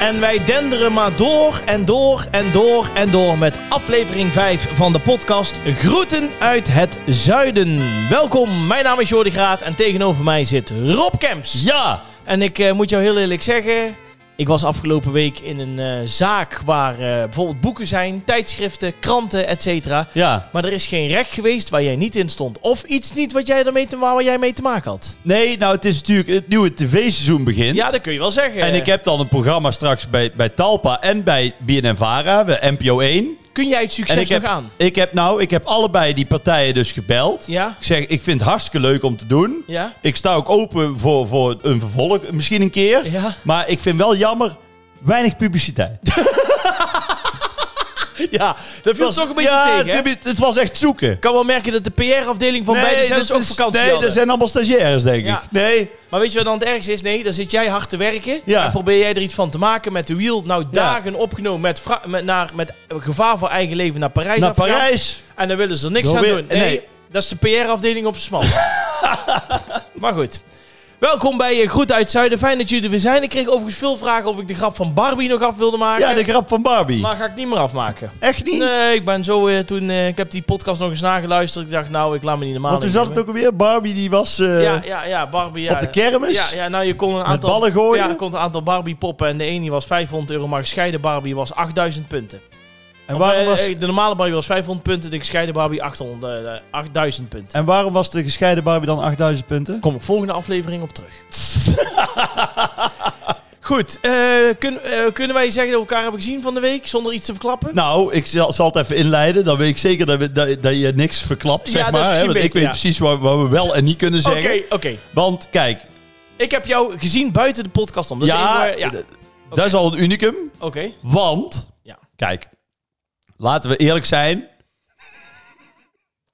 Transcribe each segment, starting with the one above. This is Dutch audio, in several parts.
En wij denderen maar door en door en door en door met aflevering 5 van de podcast Groeten uit het Zuiden. Welkom, mijn naam is Jordi Graat en tegenover mij zit Rob Kemps. Ja! En ik eh, moet jou heel eerlijk zeggen, ik was afgelopen week in een eh, zaak waar eh, bijvoorbeeld boeken zijn, tijdschriften, kranten, et cetera. Ja. Maar er is geen recht geweest waar jij niet in stond. Of iets niet wat jij ermee te, waar jij mee te maken had. Nee, nou het is natuurlijk het nieuwe tv-seizoen begint. Ja, dat kun je wel zeggen. en ik heb dan een programma straks bij, bij Talpa en bij BNNVARA, bij NPO 1. Kun jij het succes en ik nog heb, aan? Ik heb nou, ik heb allebei die partijen dus gebeld. Ja? Ik zeg, ik vind het hartstikke leuk om te doen. Ja? Ik sta ook open voor, voor een vervolg, misschien een keer. Ja? Maar ik vind wel jammer, weinig publiciteit. ja, Dat viel toch een beetje ja, tegen, hè? het- Het was echt zoeken. Ik kan wel merken dat de PR-afdeling van beide zenders dat ook is- vakantie Nee, hadden. dat zijn allemaal stagiaires, denk Ja. ik. Nee, Maar weet je wat dan het ergste is? Nee, dan zit jij hard te werken. Ja. En probeer jij er iets van te maken met de wiel. Nou, dagen opgenomen met, fra- met, naar, met gevaar voor eigen leven naar Parijs. naar afgegaan. Parijs. En dan willen ze er niks Dan aan weer- doen. Nee, nee. dat is de PR-afdeling op z'n smalst. maar goed. Welkom bij eh, Groet uit Zuiden. Fijn dat jullie er weer zijn. Ik kreeg overigens veel vragen of ik de grap van Barbie nog af wilde maken. Ja, de grap van Barbie. Maar ga ik niet meer afmaken. Echt niet? Nee, ik ben zo eh, toen... eh, ik heb die podcast nog eens nageluisterd. Ik dacht, nou, ik laat me niet normaal Want toen zat het ook alweer. Barbie die was eh, Ja, ja, ja, Barbie. Ja, op de kermis. Ja, ja, nou je kon een aantal ballen gooien? Ja, je kon een aantal Barbie poppen en de ene die was 500 euro, maar gescheiden Barbie was 8000 punten. En, Of, waarom eh, was, eh, de normale Barbie was 500 punten, de gescheiden Barbie 800, eh, 8000 punten. en waarom was de gescheiden Barbie dan 8000 punten? Kom ik volgende aflevering op terug. Goed, eh, kun- eh, kunnen wij zeggen dat we elkaar hebben gezien van de week zonder iets te verklappen? Nou, ik zal, zal het even inleiden. Dan weet ik zeker dat, we, dat, dat je niks verklapt, zeg Ja, dat is maar. hè, misschien want ik beter, weet ja. precies wat, wat we wel en niet kunnen Oké, Nou, zeggen. oké. Want kijk, Ik heb jou gezien buiten de podcast om. Dus ja, even, eh, ja. d- Oké, dat is al een unicum. Want, ja. kijk, laten we eerlijk zijn.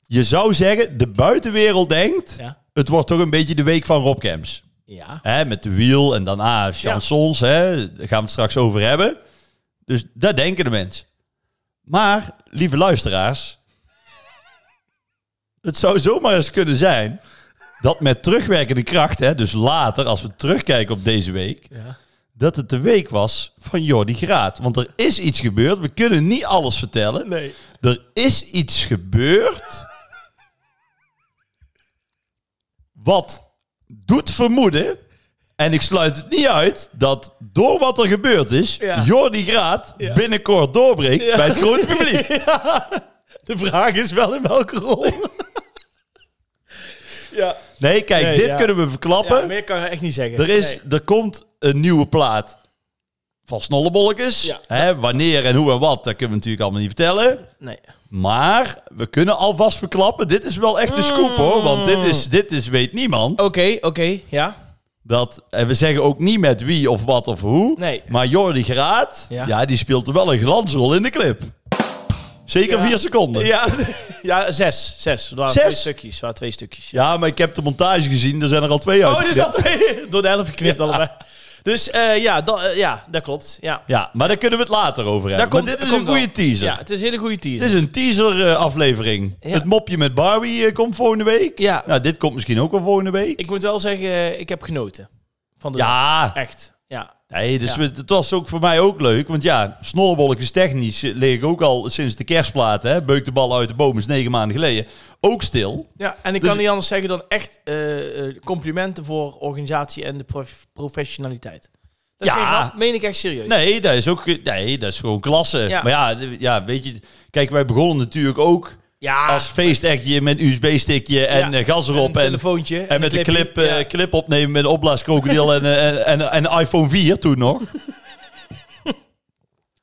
Je zou zeggen, de buitenwereld denkt... Ja. het wordt toch een beetje de week van Rob Camps. Ja. Hè, met de wiel en daarna chansons. Hè, daar gaan we het straks over hebben. Dus daar denken de mensen. Maar, lieve luisteraars. Het zou zomaar eens kunnen zijn. dat met terugwerkende kracht, hè, dus later, als we terugkijken op deze week. Ja. dat het de week was van Jordi Graat. Want er is iets gebeurd. We kunnen niet alles vertellen. Nee. Er is iets gebeurd. wat doet vermoeden. En ik sluit het niet uit dat door wat er gebeurd is, Ja. Jordi Graat Ja. binnenkort doorbreekt Ja. bij het grote publiek. De vraag is wel in welke rol. Ja. Nee, kijk, Nee, dit ja. kunnen we verklappen. ja, meer kan ik echt niet zeggen. er, is, Nee. er komt een nieuwe plaat van Snollebolletjes. Ja. Hè, wanneer en hoe en wat, dat kunnen we natuurlijk allemaal niet vertellen. nee. Maar we kunnen alvast verklappen, dit is wel echt de scoop Hmm. hoor. Want dit is, dit is weet niemand. Oké, oké, ja. Dat, en we zeggen ook niet met wie of wat of hoe. Nee. Maar Jordi Graat, Ja. ja. die speelt er wel een glansrol in de clip. Zeker Ja. vier seconden. Ja. Ja, ja zes. Zes. Er waren Zes? twee stukjes. Er waren twee stukjes. maar ik heb de montage gezien, er zijn er al twee uit. Oh, dus dat twee. Door de helft geknipt allebei. Dus eh, ja, dat, eh, ja, dat klopt. Ja. Ja, maar daar kunnen we het later over hebben. komt- maar dit dat is een komt goede teaser. ja, het is een hele goede teaser. Dit is een teaser-aflevering. Ja. Het mopje met Barbie eh, komt volgende week. Ja. Nou, dit komt misschien ook wel volgende week. Ik moet wel zeggen, eh, ik heb genoten. Van de Ja, Echt. Ja. Nee, dus Ja. we- het was ook voor mij ook leuk. Want ja, snollebolletjes technisch eh, leeg ik ook al sinds de kerstplaat. Hè, beuk de bal uit de boom is negen maanden geleden. Ook stil. ja. En ik Dus- kan niet anders zeggen dan echt eh, eh, complimenten voor organisatie en de prof- professionaliteit. Dat is Ja. geen grap, meen ik echt serieus. Nee, dat is ook eh, nee, dat is gewoon klasse. Ja. Maar ja, eh, ja, weet je... Kijk, wij begonnen natuurlijk ook Ja. als feestechtje met een USB-stickje en Ah. Ja. eh, gas erop. een En, en, telefoontje. met een clip, clipje. eh, clip opnemen met een opblaaskrokodiel en, eh, en, en, en een iPhone 4 toen nog.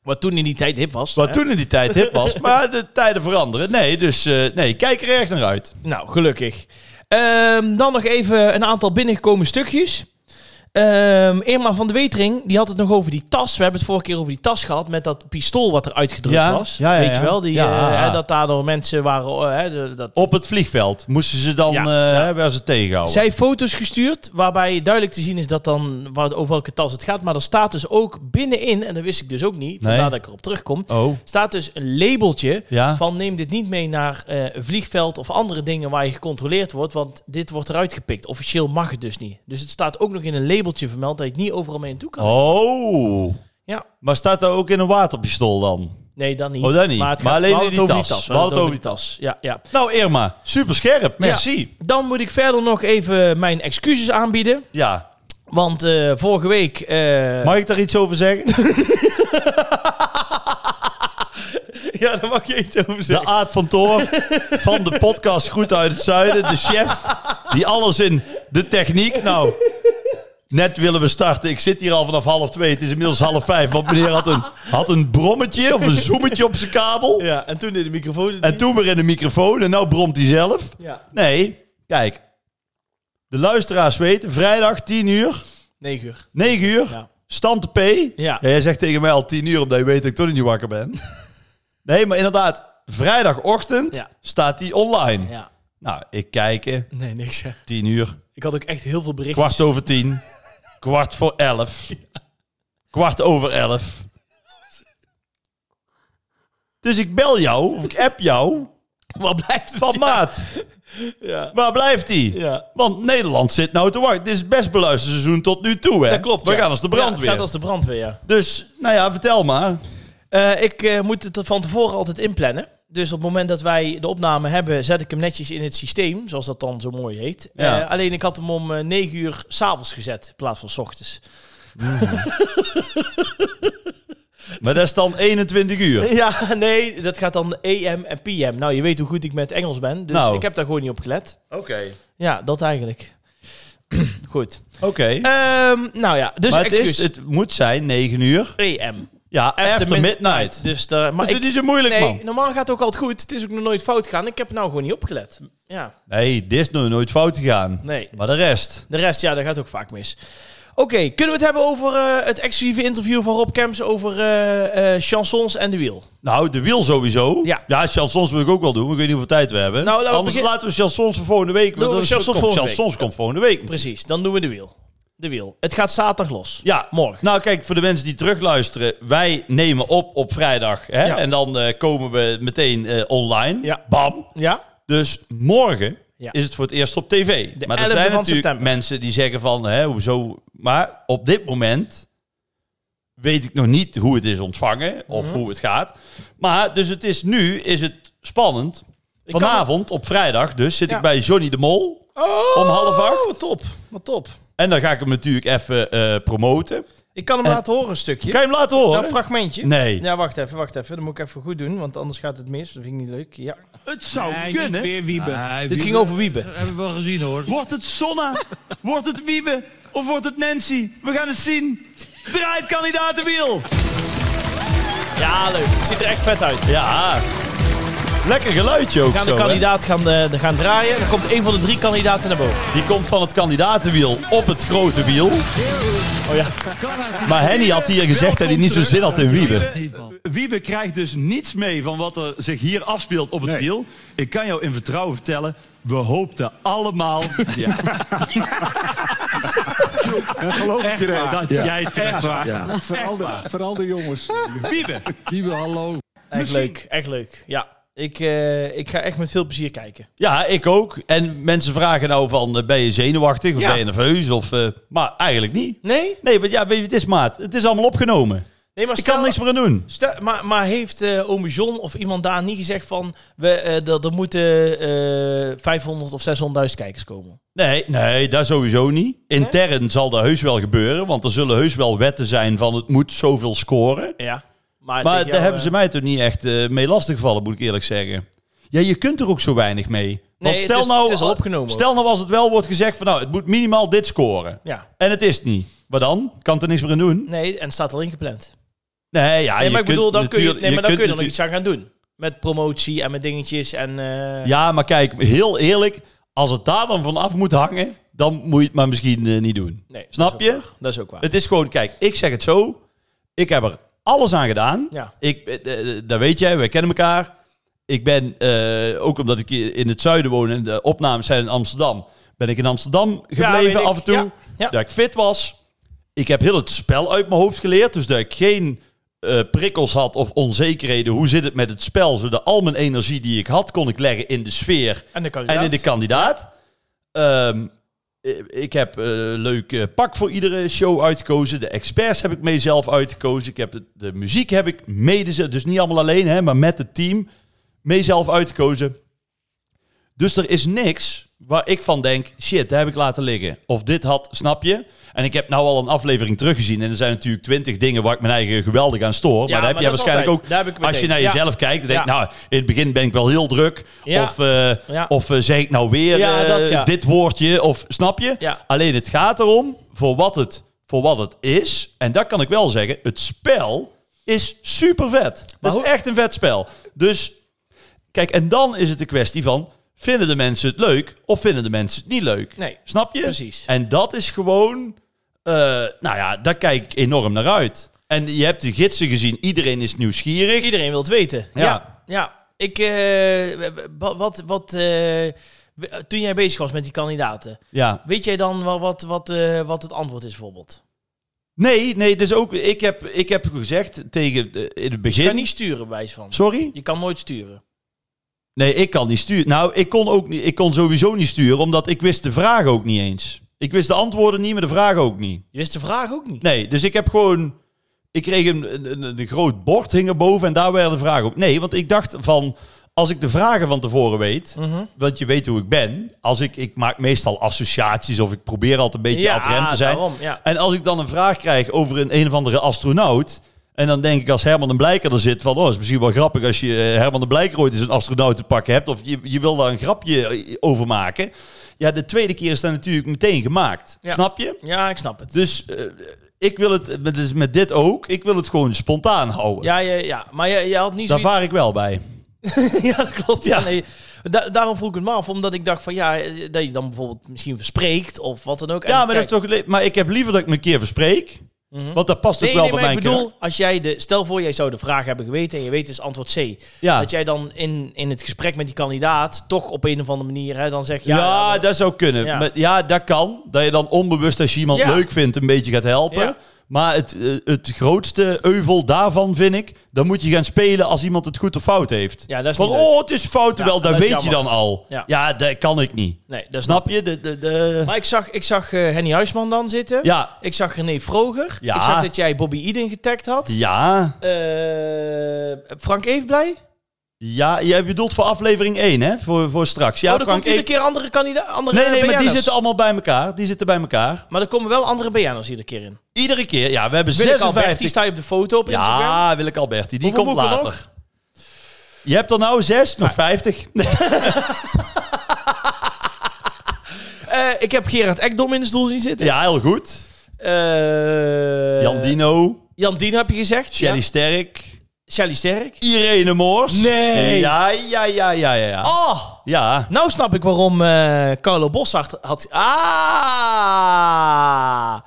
Wat toen in die tijd hip was. Wat hè? toen in die tijd hip was. Maar de tijden veranderen. Nee, dus eh, nee, kijk er echt naar uit. Nou, gelukkig. Ehm, dan nog even een aantal binnengekomen stukjes. Ehm Irma van de Wetering, die had het nog over die tas. We hebben het vorige keer over die tas gehad met dat pistool wat er uitgedrukt Ja, was. ja, ja, Weet je ja. wel, die, Ja. eh, hè, dat daardoor mensen waren... eh, hè, de- dat... Op het vliegveld moesten ze dan, Ja, eh ja. hè, werden ze tegenhouden. Zij heeft foto's gestuurd waarbij duidelijk te zien is dat dan waar, over welke tas het gaat. Maar er staat dus ook binnenin, en dat wist ik dus ook niet, vandaar Nee. dat ik erop terugkom, Oh, staat dus een labeltje ja. van neem dit niet mee naar eh, een vliegveld of andere dingen waar je gecontroleerd wordt, want dit wordt eruit gepikt. Oh. Officieel mag het dus niet. Dus het staat ook nog in een labeltje vermeld dat je het niet overal mee naartoe kan. Oh. Ja. Maar staat daar ook in een waterpistool dan? Nee, dan niet. Oh, dat niet. het Maar gaat- alleen we hadden die het over tas. We hadden het over die tas. Ja, ja. Nou Irma, super scherp. Merci. Dan moet ik verder nog even mijn excuses aanbieden. Ja. Want eh, vorige week... eh, Mag ik daar iets over zeggen? ja, daar mag je iets over De Aad van Toor van de podcast Goed uit het Zuiden. De chef die alles in de techniek... Nou, net willen we starten. Ik zit hier al vanaf half twee. Het is inmiddels half vijf. Want meneer had een, had een brommetje of een zoemetje op zijn kabel. Ja, Nou. en toen deed de microfoon... En toen weer in de microfoon. En nou bromt hij zelf. Ja, Nee, kijk. De luisteraars weten, vrijdag 10 uur, 9 uur. 9 uur, Ja. stand te P. Ja. jij zegt tegen mij al 10 uur, omdat je weet dat ik toch niet wakker ben. nee, maar inderdaad, vrijdagochtend Ja. staat die online. Ja. Nou, ik kijk, eh, Nee, niks hè. 10 uur, Ik had ook echt heel veel berichten. kwart over 10, kwart voor 11, kwart over 11. Dus ik bel jou, of ik app jou, Wat blijft het? van maat, Ja. waar blijft die? ja. Want Nederland zit nou te wachten. Dit is het best beluisterde seizoen tot nu toe, hè? Dat klopt, We ja. gaan als de Ja, het brandweer. gaat als de brandweer, ja. Dus, nou ja, vertel maar. Eh, ik eh, moet het er van tevoren altijd inplannen. Dus op het moment dat wij de opname hebben, zet ik hem netjes in het systeem, zoals dat dan zo mooi heet. Ja. Eh, alleen ik had hem om eh, 9 uur s'avonds gezet, in plaats van 's ochtends. Maar dat is dan 21 uur. Ja, nee, dat gaat dan AM en PM. Nou, je weet hoe goed ik met Engels ben, dus Nou. ik heb daar gewoon niet op gelet. Oké. Ja, dat eigenlijk. goed. Oké. Ehm, nou ja, dus maar het, excuus. is, het moet zijn 9 uur. AM. Ja, after, min- midnight. Dus daar, maar is ik- dit niet zo moeilijk, nee, man? normaal gaat het ook altijd goed. Het is ook nog nooit fout gegaan. Ik heb nou gewoon niet opgelet. Ja, Nee, dit is nog nooit fout gegaan. nee. Maar de rest. De rest, ja, dat gaat ook vaak mis. Oké, kunnen we het hebben over eh, het exclusieve interview van Rob Kemps over eh, eh, chansons en de wiel? Nou, de wiel sowieso. Ja. ja, chansons wil ik ook wel doen. maar Ik weet niet hoeveel tijd we hebben. Nou, laten we Anders begin- laten we chansons voor volgende week. Doen Want we dat is- chansons komt- volgende week. chansons komt volgende week. Precies, dan doen we de wiel. De wiel. Het gaat zaterdag los. Ja, Morgen. Nou, kijk, voor de mensen die terugluisteren, wij nemen op op vrijdag. Hè? Ja. En dan eh, komen we meteen eh, online. Ja. Bam. Ja? Dus morgen Ja. is het voor het eerst op tv. De maar er 11e zijn van natuurlijk september. mensen die zeggen van, hè, hoezo? Maar op dit moment weet ik nog niet hoe het is ontvangen of Mhm. hoe het gaat. Maar dus het is nu is het spannend. kan- Vanavond op vrijdag dus zit Ja. ik bij Johnny de Mol Oh, om half acht. wat top. Wat top. En dan ga ik hem natuurlijk even eh, promoten. Ik kan hem En- laten horen een stukje. Kan je hem laten horen? Dat fragmentje. Nee. Ja, wacht even, wacht even. Dat moet ik even goed doen, want anders gaat het mis. Dat vind ik niet leuk. Ja. Het zou Nee, niet kunnen. weer Wiebe. Dit ging over Wiebe. Hebben we wel gezien hoor. Wordt het Sonna? wordt het Wiebe? Of wordt het Nancy? We gaan het zien. Draait kandidatenwiel. Ja, leuk. Het ziet er echt vet uit. Ja. Lekker geluidje ook We gaan zo. de hè? kandidaat gaan, eh, gaan draaien. Dan komt een van de drie kandidaten naar boven. Die komt van het kandidatenwiel op het grote wiel. Oh ja. Maar Henny had hier gezegd dat hij niet zo zin had in Wiebe. Niet, man. Wiebe krijgt dus niets mee van wat er zich hier afspeelt op het Nee. wiel. Ik kan jou in vertrouwen vertellen, we hoopten allemaal Geloof ik echt waar, iedereen. dat Ja. jij terecht was. Ja. Vooral de, vooral de jongens. Wiebe, Lieve hallo. Echt leuk, echt leuk. Ja, ik, eh, ik ga echt met veel plezier kijken. Ja, ik ook. En mensen vragen nou van, eh, ben je zenuwachtig of Ja. ben je nerveus? Of, eh, maar eigenlijk niet. Nee? Nee, want ja, weet je, het is maat. Het is allemaal opgenomen. Nee, maar Ik kan stel... er niks meer aan doen. stel- maar, maar heeft eh ome John of iemand daar niet gezegd van... We, eh, dat er moeten eh 500 of 600.000 kijkers komen? Nee, nee, dat sowieso niet. Intern zal dat heus wel gebeuren, want er zullen heus wel wetten zijn van het moet zoveel scoren. Ja. Maar, Maar tegen daar jou, hebben ze eh, mij toch niet echt eh, mee lastiggevallen, moet ik eerlijk zeggen. Ja, je kunt er ook zo weinig mee. Want het stel is- nou, het is al opgenomen. Stel nou als het wel wordt gezegd van nou, het moet minimaal dit scoren. Ja. En het is het niet. Maar dan? Kan er niks meer aan doen? Nee, en het staat al ingepland. Nee, ja, nee, Ah, je maar ik kunt bedoel, dan kun je, natuurlijk- nee, maar dan kunt kun je er nog natuurlijk- iets aan gaan doen. Met promotie en met dingetjes en... eh, Ja, maar kijk, heel eerlijk, als het daar dan van af moet hangen, dan moet je het maar misschien eh, niet doen. nee, Snap dat is ook je? waar. Dat is ook waar. Het is gewoon, kijk, ik zeg het zo. Ik heb er alles aan gedaan. Ja. Ik, eh, eh, dat weet jij, wij kennen elkaar. Ik ben, eh, ook omdat ik hier in het zuiden woon en de opnames zijn in Amsterdam, ben ik in Amsterdam gebleven weet ik. af en toe. Ja, ja. Dat ik fit was. Ik heb heel het spel uit mijn hoofd geleerd. Dus dat ik geen eh, prikkels had of onzekerheden. Hoe zit het met het spel? Zodat al mijn energie die ik had, kon ik leggen in de sfeer En de kandidaat. en in de kandidaat. Ehm, eh, ik heb eh, een leuk eh, pak voor iedere show uitgekozen. De experts heb ik mee zelf uitgekozen. Ik heb de, de muziek heb ik mede, ze- dus niet allemaal alleen, hè, maar met het team mee zelf uitgekozen. Dus er is niks waar ik van denk, shit, daar heb ik laten liggen. Of dit had, snap je? En ik heb nou al een aflevering teruggezien. En er zijn natuurlijk twintig dingen waar ik mijn eigen geweldig aan stoor. maar daar heb maar jij dat is waarschijnlijk altijd. ook. Daar heb ik als je meteen. naar Ja. jezelf kijkt, dan denk ik, Ja. nou, in het begin ben ik wel heel druk. Ja. Of, eh, Ja. of eh, zeg ik nou weer Ja, eh, dat, ja. dit woordje? Of snap je? Ja. Alleen het gaat erom, voor wat het, voor wat het is. En dat kan ik wel zeggen. Het spel is super vet. Maar Dat is hoe- echt een vet spel. Dus Kijk, en dan is het de kwestie van: vinden de mensen het leuk of vinden de mensen het niet leuk? Nee, Snap je? precies. En dat is gewoon, eh, nou ja, daar kijk ik enorm naar uit. En je hebt de gidsen gezien, iedereen is nieuwsgierig. Iedereen wil het weten. Ja. Ja. Ja. Ik, eh, wa- wat, wat, eh, w- toen jij bezig was met die kandidaten, Ja. weet jij dan wel wat, wat, eh, wat het antwoord is bijvoorbeeld? Nee, nee, dus ook, ik heb, ik heb gezegd tegen eh, in het Je begin. kan niet sturen, bij wijze van. Sorry? Je kan nooit sturen. Nee, ik kan niet sturen. Nou, ik kon, ook niet, ik kon sowieso niet sturen, omdat ik wist de vraag ook niet eens. Ik wist de antwoorden niet, maar de vraag ook niet. Je wist de vraag ook niet. Nee, dus ik heb gewoon. Ik kreeg een, een, een, een groot bord hing erboven en daar werden de vragen op. Nee, want ik dacht van. Als ik de vragen van tevoren weet, Mhm. want je weet hoe ik ben. Als ik, ik maak meestal associaties of ik probeer altijd een beetje Ja, adrem te zijn. daarom, ja. En als ik dan een vraag krijg over een een of andere astronaut. En dan denk ik als Herman de Blijker er zit van, oh, is misschien wel grappig als je eh, Herman de Blijker ooit eens een astronaut te pakken hebt. Of je, je wil daar een grapje eh, over maken. Ja, de tweede keer is dat natuurlijk meteen gemaakt. Ja. Snap je? Ja, ik snap het. Dus eh, ik wil het, met- dus met dit ook, ik wil het gewoon spontaan houden. Ja, ja, ja. maar je, je had niet Daar zoiets... vaar ik wel bij. ja, dat klopt. Ja. Ja. nee. Da- daarom vroeg ik het me af, omdat ik dacht van ja, eh, dat je dan bijvoorbeeld misschien verspreekt of wat dan ook. En Ja, maar, dat is kijk- Mhm. toch, le- maar ik heb liever dat ik me een keer verspreek. Want dat past ook Nee, wel nee, bij maar mijn ik bedoel, karakter. als jij de, stel voor jij zou de vraag hebben geweten en je weet dus antwoord C. Ja. Dat jij dan in, in het gesprek met die kandidaat toch op een of andere manier hè, dan zeg je... Ja, dat zou kunnen. Ja. Maar, ja, dat kan. Dat je dan onbewust als je iemand Ja. leuk vindt een beetje gaat helpen. Ja. Maar het, eh, het grootste euvel daarvan vind ik, dan moet je gaan spelen als iemand het goed of fout heeft. Ja, dat is Van, niet leuk. oh, het is fout, terwijl Ja, dat, dat is weet je jammer. dan al. Ja. Ja. dat kan ik niet. Nee, dat is Snap je? De, de, de... Maar ik zag, ik zag eh, Henny Huisman dan zitten. Ja. Ik zag René Vroger. Ja. Ik zag dat jij Bobby Eden getagd had. Ja. Eh, Frank Evenblij? Ja, jij bedoelt voor aflevering 1, hè? Voor, voor straks. Ja, oh, er komt Frank, iedere ik- keer eh, andere kandidaat. Andere Nee, nee, maar die BN'ers. zitten allemaal bij elkaar. Die zitten bij elkaar. Maar er komen wel andere BN'ers iedere keer in. Iedere keer. Ja, we hebben Willeke 56. Alberti, sta je op de foto op Instagram? ja, Willeke Alberti. Die Hoeveel komt moeten we later. Je hebt er nou zes, nog 50. Nee. Eh, ik heb Gerard Ekdom in de stoel zien zitten. Ja, heel goed. Eh, Jan Dino, Jan Dino heb je gezegd. Shelly ja. Sterk, Shelly Sterk. Irene Moors. Nee. Ja, ja, ja, ja, ja. Ja. Oh, ja. nou snap ik waarom eh, Carlo Bossart had... Ah!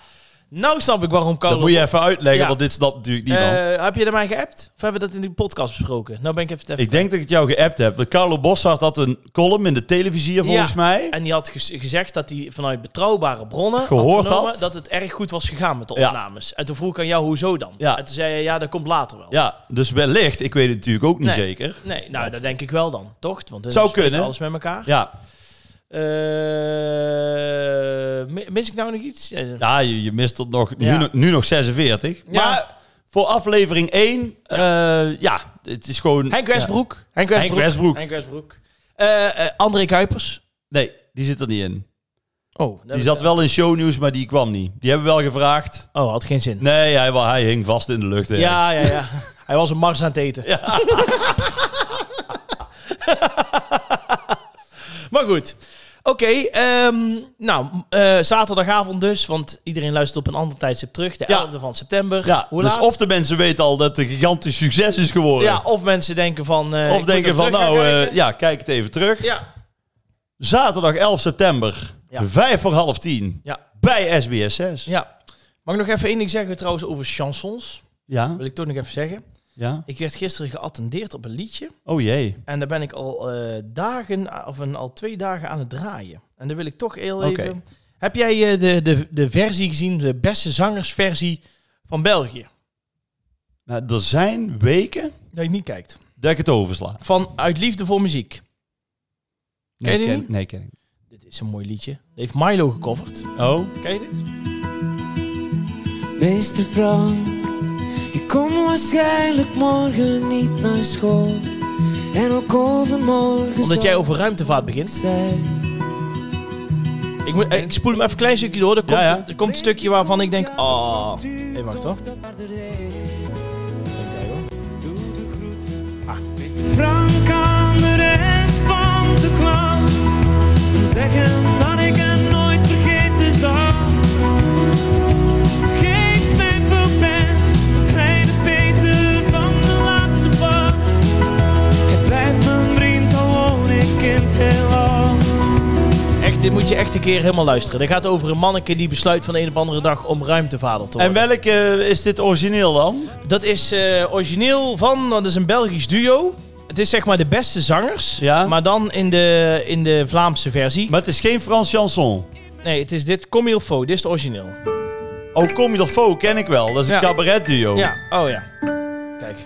Nou snap ik waarom Carlo... Dat moet je even uitleggen, Ja. want dit snapt natuurlijk niemand. Eh, heb je er mij geappt? Of hebben we dat in die podcast besproken? Nou ben ik even... te- ik denk dat ik het jou geappt heb. Want Carlo Boshart had een column in de televisie, volgens Ja. mij. En die had gez- gezegd dat hij vanuit betrouwbare bronnen Gehoord vernomen had. dat het erg goed was gegaan met de Ja. opnames. En toen vroeg ik aan jou, hoezo dan? Ja. En toen zei je, ja, dat komt later wel. Ja, dus wellicht. Ik weet het natuurlijk ook niet Nee. zeker. Nee, nou, dat denk ik wel dan, toch? Want dan Zou speelt kunnen. alles met elkaar. Ja, Eh, mi- mis ik nou nog iets? Eh, ja je, je mist het nog, Ja. nu, nog- nu nog 46. Ja. Maar voor aflevering 1, ja, ja het is gewoon... Henk ja. Westbroek. Henk Henk Westbroek. Henk Westbroek. Eh, eh, André Kuipers. Nee, die zit er niet in. Oh, Die zat wel in shownieuws, maar die kwam niet. Die hebben wel gevraagd. Oh, had geen zin. Nee, hij, wa- hij hing vast in de lucht. ergens. ja, ja, ja. Hij was een mars aan het eten. maar goed. Oké, ehm, nou, eh, zaterdagavond dus, want iedereen luistert op een ander tijdstip terug. De Ja. 11e van september. Ja, Hoe dus laat? of de mensen weten al dat het een gigantisch succes is geworden. ja, of mensen denken van... eh, ik of moet denken er van, terug gaan nou, eh, kijken. ja, kijk het even terug. ja. Zaterdag 11 september, Ja. vijf voor half tien, Ja. bij SBS6. Ja. Mag ik nog even één ding zeggen trouwens over chansons? Ja, Wil ik toch nog even zeggen. ja. Ik werd gisteren geattendeerd op een liedje. Oh jee. En daar ben ik al eh, dagen, of een, al twee dagen aan het draaien. En daar wil ik toch heel Oké. even... Heb jij eh, de, de, de versie gezien, de beste zangersversie van België? Nou, er zijn weken Dat je niet kijkt. dat ik het oversla. Van Uit Liefde voor Muziek. Nee, Ken je die ken, niet? nee, ken ik niet. Dit is een mooi liedje. Dat heeft Milo gecoverd. Oh, Ken je dit? Meester Frank, ik kom waarschijnlijk morgen niet naar school. En ook overmorgen. Omdat zal jij over ruimtevaart ik begint. zijn. Ik, moet, eh, ik spoel hem even een klein stukje door. Er komt, Ja, ja. Er komt een stukje waarvan ik denk... Oh, Hey, wacht, hoor. Doe de groeten. Meester Frank aan de rest van de klas. En zeggen dat ik hem nooit vergeten zal. Geef mij veel pen, kleine Peter van de laatste bar. Hij blijft mijn vriend, al woon ik in het heelal. Echt, dit moet je echt een keer helemaal luisteren. Dit gaat over een manneke die besluit van de een op de andere dag om ruimtevader te worden. en welke is dit origineel dan? Dat is eh, origineel van, dat is een Belgisch duo. Het is zeg maar de beste zangers, Ja. maar dan in de, in de Vlaamse versie. Maar het is geen Frans chanson. Nee, het is dit Comme il faut, dit is het origineel. Oh, Comme il faut ken ik wel. Dat is een Ja. cabaret duo. Ja, oh ja. Kijk.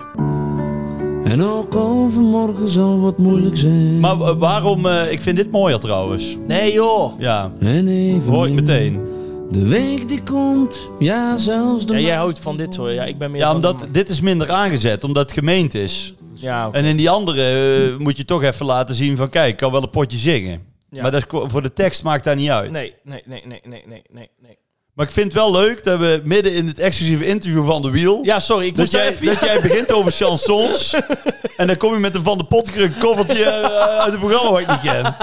En ook overmorgen zal wat moeilijk zijn. Maar eh, waarom... eh, ik vind dit mooier trouwens. Nee joh. Ja, en even hoor ik meteen. De week die komt, ja zelfs de Ja, jij maand houdt van dit hoor. Ja, ik ben meer Ja, van- omdat dit is minder aangezet, omdat het gemeend is. Ja, oké. En in die andere eh, moet je toch even laten zien van... Kijk, ik kan wel een potje zingen. Ja. Maar dat is, ko- voor de tekst maakt dat niet uit. Nee, nee, nee, nee, nee, nee, nee, nee. Maar ik vind het wel leuk dat we midden in het exclusieve interview van De Wiel... Ja, sorry, ik Dat moest daar jij, even... dat jij begint over chansons. en dan kom je met een Van de Potgerukt koffertje eh, uit het programma wat ik niet ken.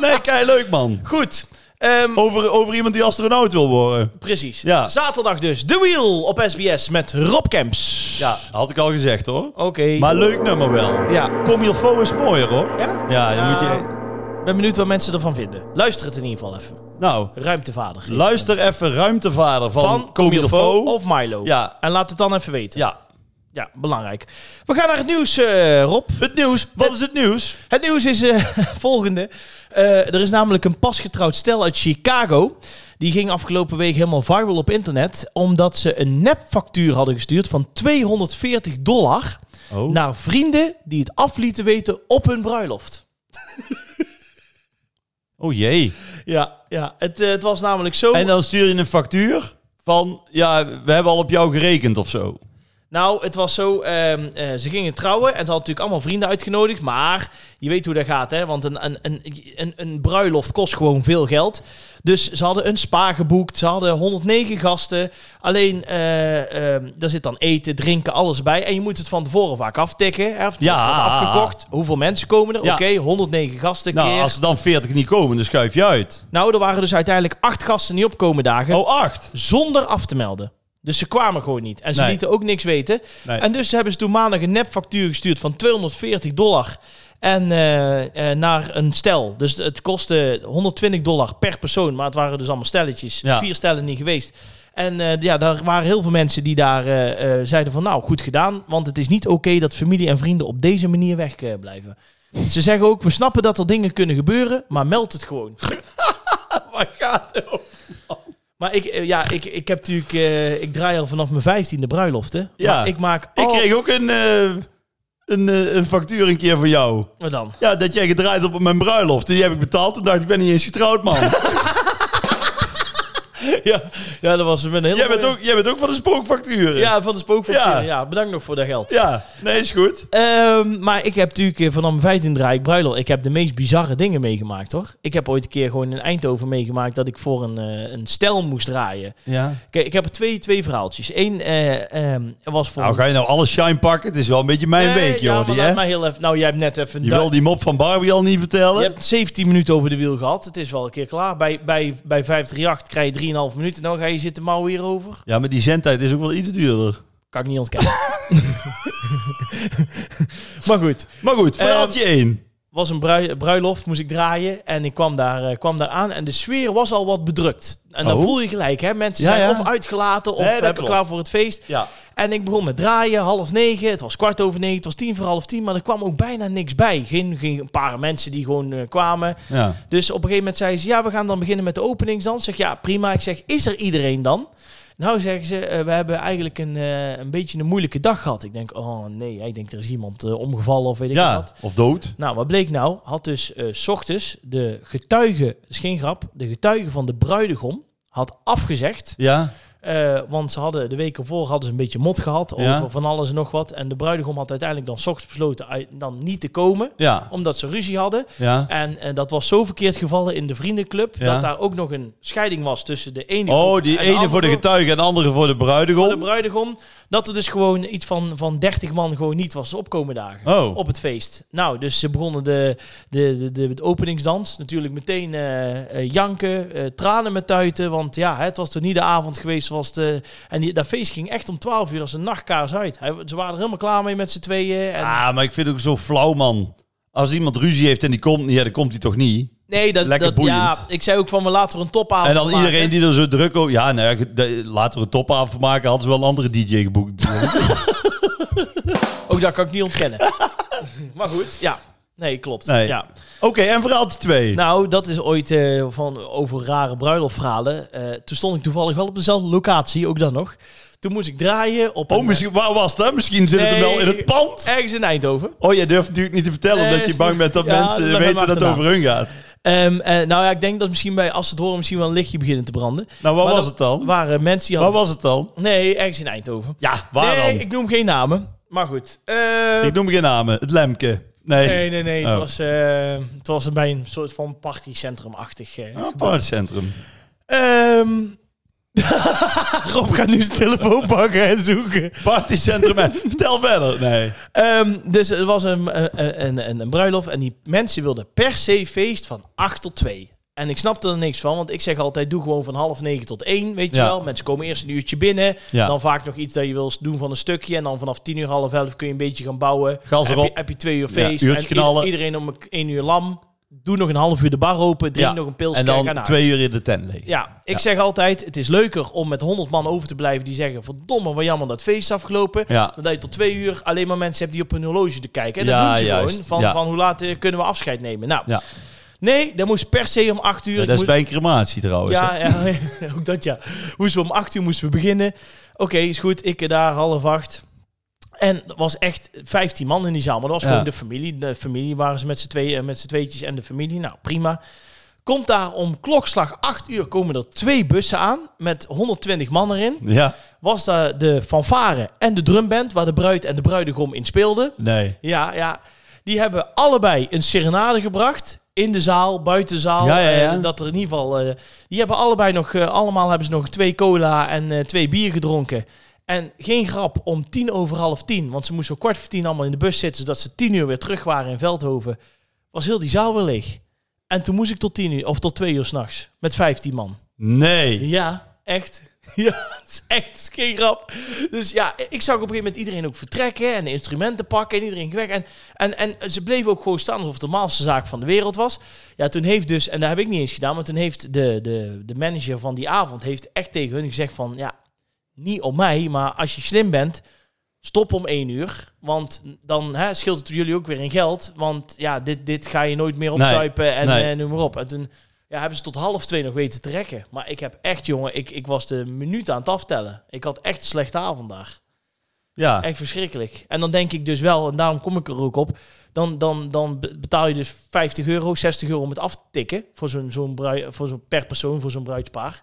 Nee, kei leuk man. Goed. Ehm, Over, over iemand die astronaut wil worden. Precies. Oh. Ja. Zaterdag dus, The Wheel op SBS met Rob Kemps. Ja, had ik al gezegd hoor. Oké. Maar leuk nummer wel. Ja. Kom je faux is mooier hoor. Ja? Ja, dan moet je... Ik ben benieuwd wat mensen ervan vinden. Luister het in ieder geval even. Nou, Ruimtevader. luister even Ruimtevader van, van van Comilfo of Milo. Ja. En laat het dan even weten. Ja. Ja, belangrijk. We gaan naar het nieuws, eh, Rob. Het nieuws. Wat is het nieuws? Het nieuws is eh, volgende. Eh, er is namelijk een pasgetrouwd stel uit Chicago. Die ging afgelopen week helemaal viral op internet. Omdat ze een nepfactuur hadden gestuurd van 240 dollar. Oh. Naar vrienden die het af lieten weten op hun bruiloft. Oh jee. Ja, ja. Het, eh, het was namelijk zo. En dan stuur je een factuur van... Ja, we hebben al op jou gerekend of zo. Nou, het was zo, ehm, eh, ze gingen trouwen en ze hadden natuurlijk allemaal vrienden uitgenodigd. Maar je weet hoe dat gaat, hè? Want een, een, een, een, een bruiloft kost gewoon veel geld. Dus ze hadden een spa geboekt, ze hadden 109 gasten. Alleen, eh, ehm, daar zit dan eten, drinken, alles bij. En je moet het van tevoren vaak aftikken. Hè? Of Ja. het wordt afgekocht. Hoeveel mensen komen er? Ja. Oké, 109 gasten Nou, keer. als er dan 40 niet komen, dan schuif je uit. Nou, er waren dus uiteindelijk acht gasten die opkomen dagen. Oh, 8. zonder af te melden. Dus ze kwamen gewoon niet. En ze Nee. lieten ook niks weten. Nee. En dus hebben ze toen maandag een nepfactuur gestuurd van 240 dollar. En eh, eh, naar een stel. Dus het kostte 120 dollar per persoon. Maar het waren dus allemaal stelletjes. Ja. Vier stellen niet geweest. En eh, ja, daar waren heel veel mensen die daar eh, eh, zeiden van... Nou, goed gedaan. Want het is niet oké dat familie en vrienden op deze manier weg eh, blijven. Ze zeggen ook, we snappen dat er dingen kunnen gebeuren. Maar meld het gewoon. Waar gaat het over? Maar ik, eh, ja, ik, ik heb natuurlijk, eh, ik draai al vanaf mijn vijftiende bruiloft, hè? Ja. Maar ik maak Ik al... kreeg ook een, eh, een, eh, een factuur een keer van jou. Wat dan? Ja, dat jij gedraaid hebt op mijn bruiloft. Die heb ik betaald. Toen dacht ik, ik ben niet eens getrouwd, man. Ja, ja dat was een hele... jij, bent mooie- ook, jij bent ook van de spookfacturen. Ja, van de spookfactuur. Ja. Ja. bedankt nog voor dat geld. Ja, nee, is goed. Ehm, maar ik heb natuurlijk eh, vanaf mijn vijftiende draai ik bruiloft. Ik heb de meest bizarre dingen meegemaakt, hoor. Ik heb ooit een keer gewoon in Eindhoven meegemaakt dat ik voor een, eh, een stel moest draaien. Ja. Kijk, ik heb er twee, twee verhaaltjes. Eén eh, ehm, was voor... Nou, ga je nou alle shine pakken? Het is wel een beetje mijn Nee, week, joh. Ja, maar die, laat hè? mij heel even... Nou, jij hebt net even... Je da- wil die mop van Barbie al niet vertellen? Je hebt 17 minuten over de wiel gehad. Het is wel een keer klaar. Bij, bij, bij 538 krijg je 3,5 minuten. Dan ga je zitten mouwen hierover. Ja, maar die zendtijd is ook wel iets duurder. Kan ik niet ontkennen. maar goed. Maar goed, verhaaltje één. was een brui- bruiloft, moest ik draaien. En ik kwam daar, eh, kwam daar aan. En de sfeer was al wat bedrukt. En dan Oh. voel je gelijk, hè. Mensen Ja, zijn ja. of uitgelaten of Nee, dat hebben klopt. klaar voor het feest. Ja. En ik begon met draaien, half negen. Het was kwart over negen, het was tien voor half tien. Maar er kwam ook bijna niks bij. Geen, geen een paar mensen die gewoon eh, kwamen. Ja. Dus op een gegeven moment zei ze: Ja, we gaan dan beginnen met de openingsdans. Zeg ja, prima. Ik zeg: Is er iedereen dan? Nou zeggen ze, eh, we hebben eigenlijk een, eh, een beetje een moeilijke dag gehad. Ik denk, oh nee, ik denk er is iemand eh, omgevallen of weet ik Ja, wat. of dood. Nou, wat bleek nou? Had dus eh, s ochtends de getuige, dat is geen grap, de getuige van de bruidegom had afgezegd. Ja, Eh, want ze hadden de week ervoor hadden ze een beetje mot gehad over Ja. van alles en nog wat. En de bruidegom had uiteindelijk dan 's ochtends besloten uit- dan niet te komen, ja, omdat ze ruzie hadden. ja. En eh, dat was zo verkeerd gevallen in de vriendenclub, Ja. dat daar ook nog een scheiding was tussen de ene Oh, groep die en de ene andere voor de Oh. groep, getuige en de andere voor de voor de bruidegom. bruidegom. Dat er dus gewoon iets van, van 30 man gewoon niet was opkomen dagen. Oh, Op het feest. Nou, dus ze begonnen de, de, de, de, de openingsdans. Natuurlijk meteen eh, eh, janken, eh, tranen met tuiten. Want ja, het was toch niet de avond geweest zoals de... En die, dat feest ging echt om 12 uur als een nachtkaars uit. Hij, ze waren er helemaal klaar mee met z'n tweeën. En, ah, maar ik vind het ook zo flauw, man. Als iemand ruzie heeft en die komt niet, ja, dan komt hij toch niet. nee, dat, lekker dat, ja, boeiend. ik zei ook van, we laten er een topavond En dan van maken. iedereen die er zo druk over... Ja, nou ja, de- laten we een topavond maken. Hadden ze wel een andere DJ geboekt. Ook dat kan ik niet ontkennen. maar goed, ja. Nee, klopt. Nee. Ja. Oké, en verhaaltje twee. Oh, Nou, dat is ooit eh, van, over rare bruiloftverhalen. Eh, toen stond ik toevallig wel op dezelfde locatie, ook dan nog. Toen moest ik draaien op oh, een, misschien, waar was dat? Misschien zit het Nee. hem wel in het pand. ergens in Eindhoven. Oh, jij durft natuurlijk niet te vertellen, Nee, omdat je is bang niet- bent dat Ja, dat mensen ben ik weten dat het achterna. over hun gaat. Ehm, eh, nou ja, ik denk dat misschien bij als ze het horen misschien wel een lichtje beginnen te branden. Nou, waar Maar was dat het dan? Waren mensen die Waar hadden... was het dan? Nee, ergens in Eindhoven. Ja, waar nee, dan? ik noem geen namen. Maar goed. Eh, Ik noem geen namen. Het Lemke. Nee. Nee, nee, nee. Het, Oh. was, eh, het was bij een soort van partycentrum-achtig. eh. Ah, Paardcentrum. Ehm, Rob gaat nu zijn telefoon pakken en zoeken. Partycentrum. hè. Vertel verder. Nee. Ehm, dus er was een, een, een, een, een bruiloft en die mensen wilden per se feest van 8 tot 2. En ik snapte er niks van, want ik zeg altijd: doe gewoon van half negen tot één. Weet je Ja. wel, mensen komen eerst een uurtje binnen. Ja. Dan vaak nog iets dat je wil doen van een stukje. En dan vanaf tien uur, half elf kun je een beetje gaan bouwen. Gas heb, erop. Je, heb je twee uur Ja, feest. uurtje en ieder- knallen. iedereen om een- één uur lam. Doe nog een half uur de bar open. Drink Ja. nog een pils. En kijk aan dan huis. twee uur in de tent liggen. Ja, ik Ja. zeg altijd, het is leuker om met 100 man over te blijven die zeggen, verdomme, wat jammer dat het feest is afgelopen. Ja. Dan dat je tot twee uur alleen maar mensen hebt die op hun horloge te kijken. En Ja, dat doen ze juist. gewoon. Van, Ja. van hoe laat eh, kunnen we afscheid nemen? Nou, Ja. nee, dat moest per se om 8 uur. Ja, Ik dat is moest- bij een crematie trouwens. hè. ja, ja, ook dat ja. Moesten we om 8 uur moesten we beginnen. Oké, is goed. Ik eh, daar half acht. En er was echt 15 man in die zaal. Maar dat was Ja. gewoon de familie. De familie waren ze met z'n tweeën, met z'n tweetjes en de familie. Nou, prima. Komt daar om klokslag 8 uur komen er twee bussen aan met 120 man erin. Ja. Was daar de fanfare en de drumband waar de bruid en de bruidegom in speelden. Nee. Ja, ja. Die hebben allebei een serenade gebracht. In de zaal, buiten de zaal. Ja, ja, ja. eh, dat er in ieder geval... eh, die hebben allebei nog... eh, allemaal hebben ze nog twee cola en eh, twee bier gedronken. En geen grap, om tien over half tien... Want ze moesten om kwart voor tien allemaal in de bus zitten... zodat ze tien uur weer terug waren in Veldhoven. Was heel die zaal weer leeg. En toen moest ik tot tien uur, of tot twee uur s'nachts. Met vijftien man. Nee. Ja, echt. Ja, het is echt het is geen grap. Dus ja, ik zag op een gegeven moment iedereen ook vertrekken en de instrumenten pakken en iedereen ging weg. En, en, en ze bleven ook gewoon staan alsof het de normaalste zaak van de wereld was. Ja, toen heeft dus, en dat heb ik niet eens gedaan, maar toen heeft de, de, de manager van die avond heeft echt tegen hun gezegd van, ja, niet op mij, maar als je slim bent, stop om één uur. Want dan hè, scheelt het jullie ook weer in geld. Want ja, dit, dit ga je nooit meer opzuipen en nee. eh, noem maar op. En toen ja, hebben ze tot half twee nog weten te rekken. Maar ik heb echt, jongen, ik, ik was de minuut aan het aftellen. Ik had echt een slechte avond daar. Ja. Echt verschrikkelijk. En dan denk ik dus wel, en daarom kom ik er ook op... Dan, dan, dan be- betaal je dus 50 euro, 60 euro om het af te tikken... Voor zo'n, zo'n brui, voor zo'n, per persoon, voor zo'n bruidspaar.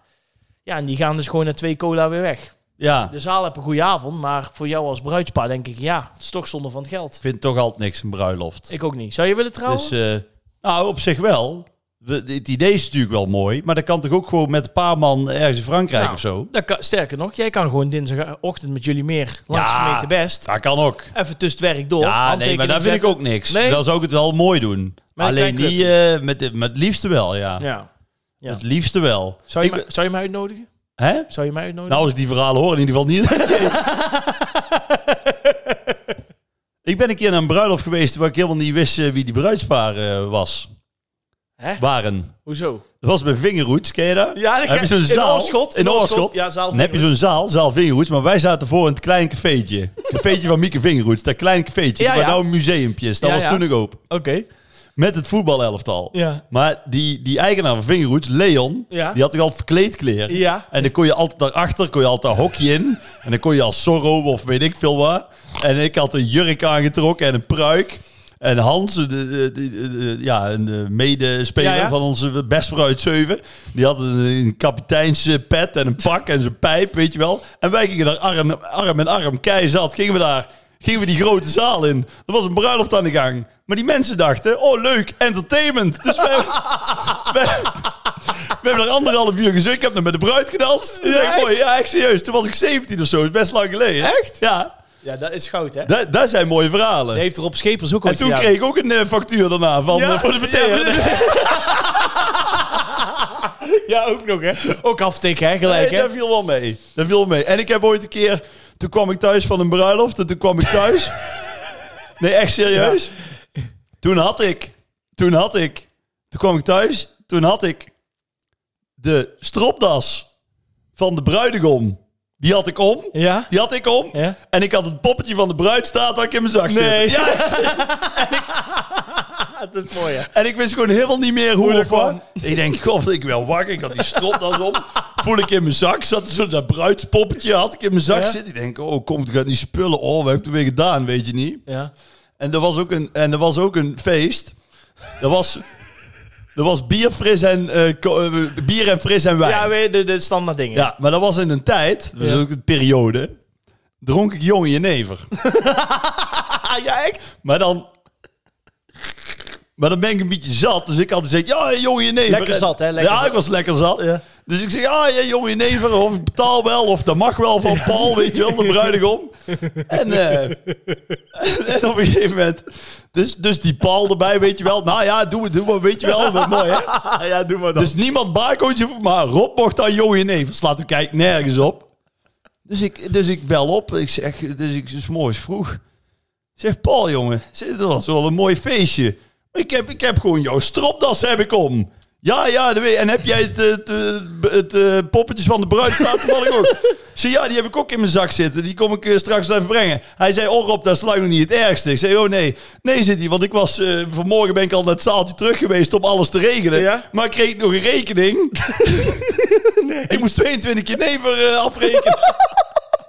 Ja, en die gaan dus gewoon na twee cola weer weg. Ja. De zaal heb een goede avond, maar voor jou als bruidspaar denk ik ja, het is toch zonde van het geld. Ik vind toch altijd niks een bruiloft. Ik ook niet. Zou je willen trouwen? Dus, eh, nou, op zich wel. We, het idee is natuurlijk wel mooi, maar dat kan toch ook gewoon met een paar man ergens in Frankrijk Nou, of zo? dat kan, sterker nog, jij kan gewoon dinsdagochtend met jullie meer langs Ja. gemeente best. Dat kan ook. Even tussen het werk door. Ja, nee, handtekening maar daar vind ik zetten. ook niks. Nee. Dan zou ik het wel mooi doen. Met een Alleen klein niet eh, met, de- met het liefste wel, ja. Ja. ja. Het liefste wel. Zou, je Ik mij, zou je mij uitnodigen? ben- Hè? Zou je mij uitnodigen? Nou, als ik die verhalen hoor, in ieder geval niet. ik ben een keer naar een bruiloft geweest waar ik helemaal niet wist eh, wie die bruidspaar eh, was. Hè? Waren. Hoezo? Dat was bij Vingerhoets, ken je dat? Ja, dan heb ga- je zo'n in zaal. Oorschot, In in Oorschot. Oorschot. Ja, zaal Dan heb je zo'n zaal, zaal Vingerhoets, maar wij zaten voor in het klein cafeetje. Cafeetje van Mieke Vingerhoets, dat klein cafeetje, Ja, waar ja. nou een museumpje is. Dat Ja, was ja. toen nog open. Oké. met het voetbalelftal. Ja. Maar die, die eigenaar van Vingerhoeds, Leon, Ja. die had toch altijd verkleedkleer. Ja. En dan kon je altijd daarachter, kon je altijd een hokje in. En dan kon je als Zorro of weet ik veel wat. En ik had een jurk aangetrokken en een pruik. En Hans, de, de- de- de- ja, een eh, medespeler Ja, ja. van onze best vooruit 7, die had een, een kapiteinspet en een pak en zijn pijp, weet je wel. En wij gingen daar arm, arm in arm, keizat, gingen we daar, gingen we die grote zaal in. Er was een bruiloft aan de gang. Maar die mensen dachten, oh leuk, entertainment. Dus wij, wij, we hebben er anderhalf uur gezeten. Ik heb nog met de bruid gedanst. Ja, echt? Mooi. ja, echt serieus. Toen was ik 17 of zo. Dat is best lang geleden. Echt? Ja. Ja, dat is goud, hè? Dat Dat, dat zijn mooie verhalen. heeft Rob Schepers ook en ooit toen gedaan. kreeg ik ook een eh, factuur daarna van, Ja, eh, voor de verteer. Ja, ook nog, hè? Ook aftikken, hè? Gelijk, Nee, hè? dat viel wel mee. Dat viel wel mee. En ik heb ooit een keer... Toen kwam ik thuis van een bruiloft. En toen kwam ik thuis. nee, echt serieus. Toen had ik... Toen had ik... Toen kwam ik thuis. Toen had ik... De stropdas van de bruidegom. Die had ik om. Ja? Die had ik om. Ja? En ik had het poppetje van de bruid staat dat ik in mijn zak Nee. zit. Ja, Dat is mooi, hè? En ik wist gewoon helemaal niet meer hoe Hoe of dat wat. Ik denk, god, ik wel wakker. Ik had die stropdas om. Voel ik in mijn zak. Zat zo dat bruidspoppetje had ik in mijn zak Ja. zitten. Ik denk, oh, kom, ik ga die spullen. Oh, we hebben het weer gedaan, weet je niet. Ja. En er was ook een, en er was ook een feest. Er was, er was bier, fris en, eh, ko- eh, bier en fris en wijn. Ja, weet je, de, de standaard dingen. Ja, maar dat was in een tijd, dat was Ja. ook een periode, dronk ik jong jenever. ja, echt? Maar dan... Maar dan ben ik een beetje zat. Dus ik had gezegd, ja, hey, jongen, jenever. Lekker zat, hè? Lekker ja, zat. ik was lekker zat. Ja. Dus ik zeg, ja, ja jongen, jenever. Of ik betaal wel, of dat mag wel van Paul, weet je wel, de bruidegom. En, eh, en op een gegeven moment... Dus, dus die Paul erbij, weet je wel. Nou ja, doe, doe maar, weet je wel. Wat mooi, hè? ja, doe maar dan. Dus niemand barcootje voor, maar Rob mocht dan jongen in even. Slaat u kijkt nergens op. Dus ik, dus ik bel op. Ik zeg, dus ik is morgens vroeg. Ik zeg, Paul jongen, zeg, dat was wel een mooi feestje. Maar Ik heb, ik heb gewoon jouw stropdas heb ik om. Ja, ja, dat weet ik. en heb jij het, eh, het, eh, het, eh, poppetjes van de bruid staat toevallig ook? Ik zeg, ja, die heb ik ook in mijn zak zitten. Die kom ik eh, straks wel even brengen. Hij zei, oh Rob, dat is lang nog niet het ergste. Ik zei, oh nee. Nee, zit hij, want ik was, eh, vanmorgen ben ik al naar het zaaltje terug geweest om alles te regelen. Ja? Maar ik kreeg nog een rekening. Ik moest 22 keer nee voor eh, afrekenen.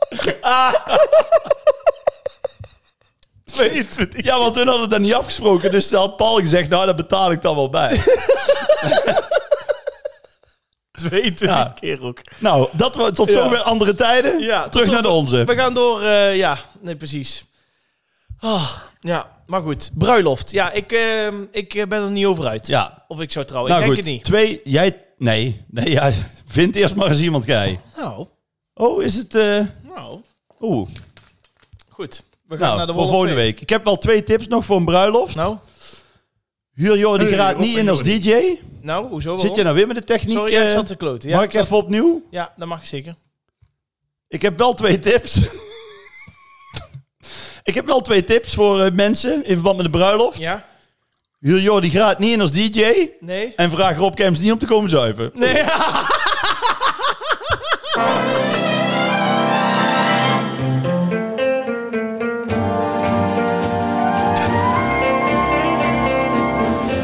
Dus- 22. Ja, want toen hadden we dat niet afgesproken. Dus had Paul gezegd, nou, dat betaal ik dan wel bij. 22 Ja. keer ook. Nou, dat was tot Ja. zover andere tijden. Ja, tot Terug naar de zover. onze. We gaan door, eh, ja, nee, precies. Ah, ja, maar goed. Bruiloft. Ja, ik, ehm, ik eh, ben er niet over uit. Ja, Of ik zou trouwen. nou ik denk goed. het niet. Twee, jij... Nee, nee, ja, vind eerst maar eens iemand, jij. Nou, Oh, is het... eh nou, Oeh, goed. We gaan naar nou, de voor Wall of volgende Fame. week. Ik heb wel twee tips nog voor een bruiloft. Nou, Huur Jordi Huur Graat Jordi niet in als DJ. nou, hoezo? Waarom? Zit je nou weer met de techniek? Sorry, ja, ik eh? zat te kloten. Ja, mag ik zat- even opnieuw? ja, dat mag ik zeker. Ik heb wel twee tips. ik heb wel twee tips voor eh, mensen in verband met de bruiloft. Ja? Huur Jordi Graat niet in als DJ. Nee? En vraag Rob Kemps niet om te komen zuipen. Nee.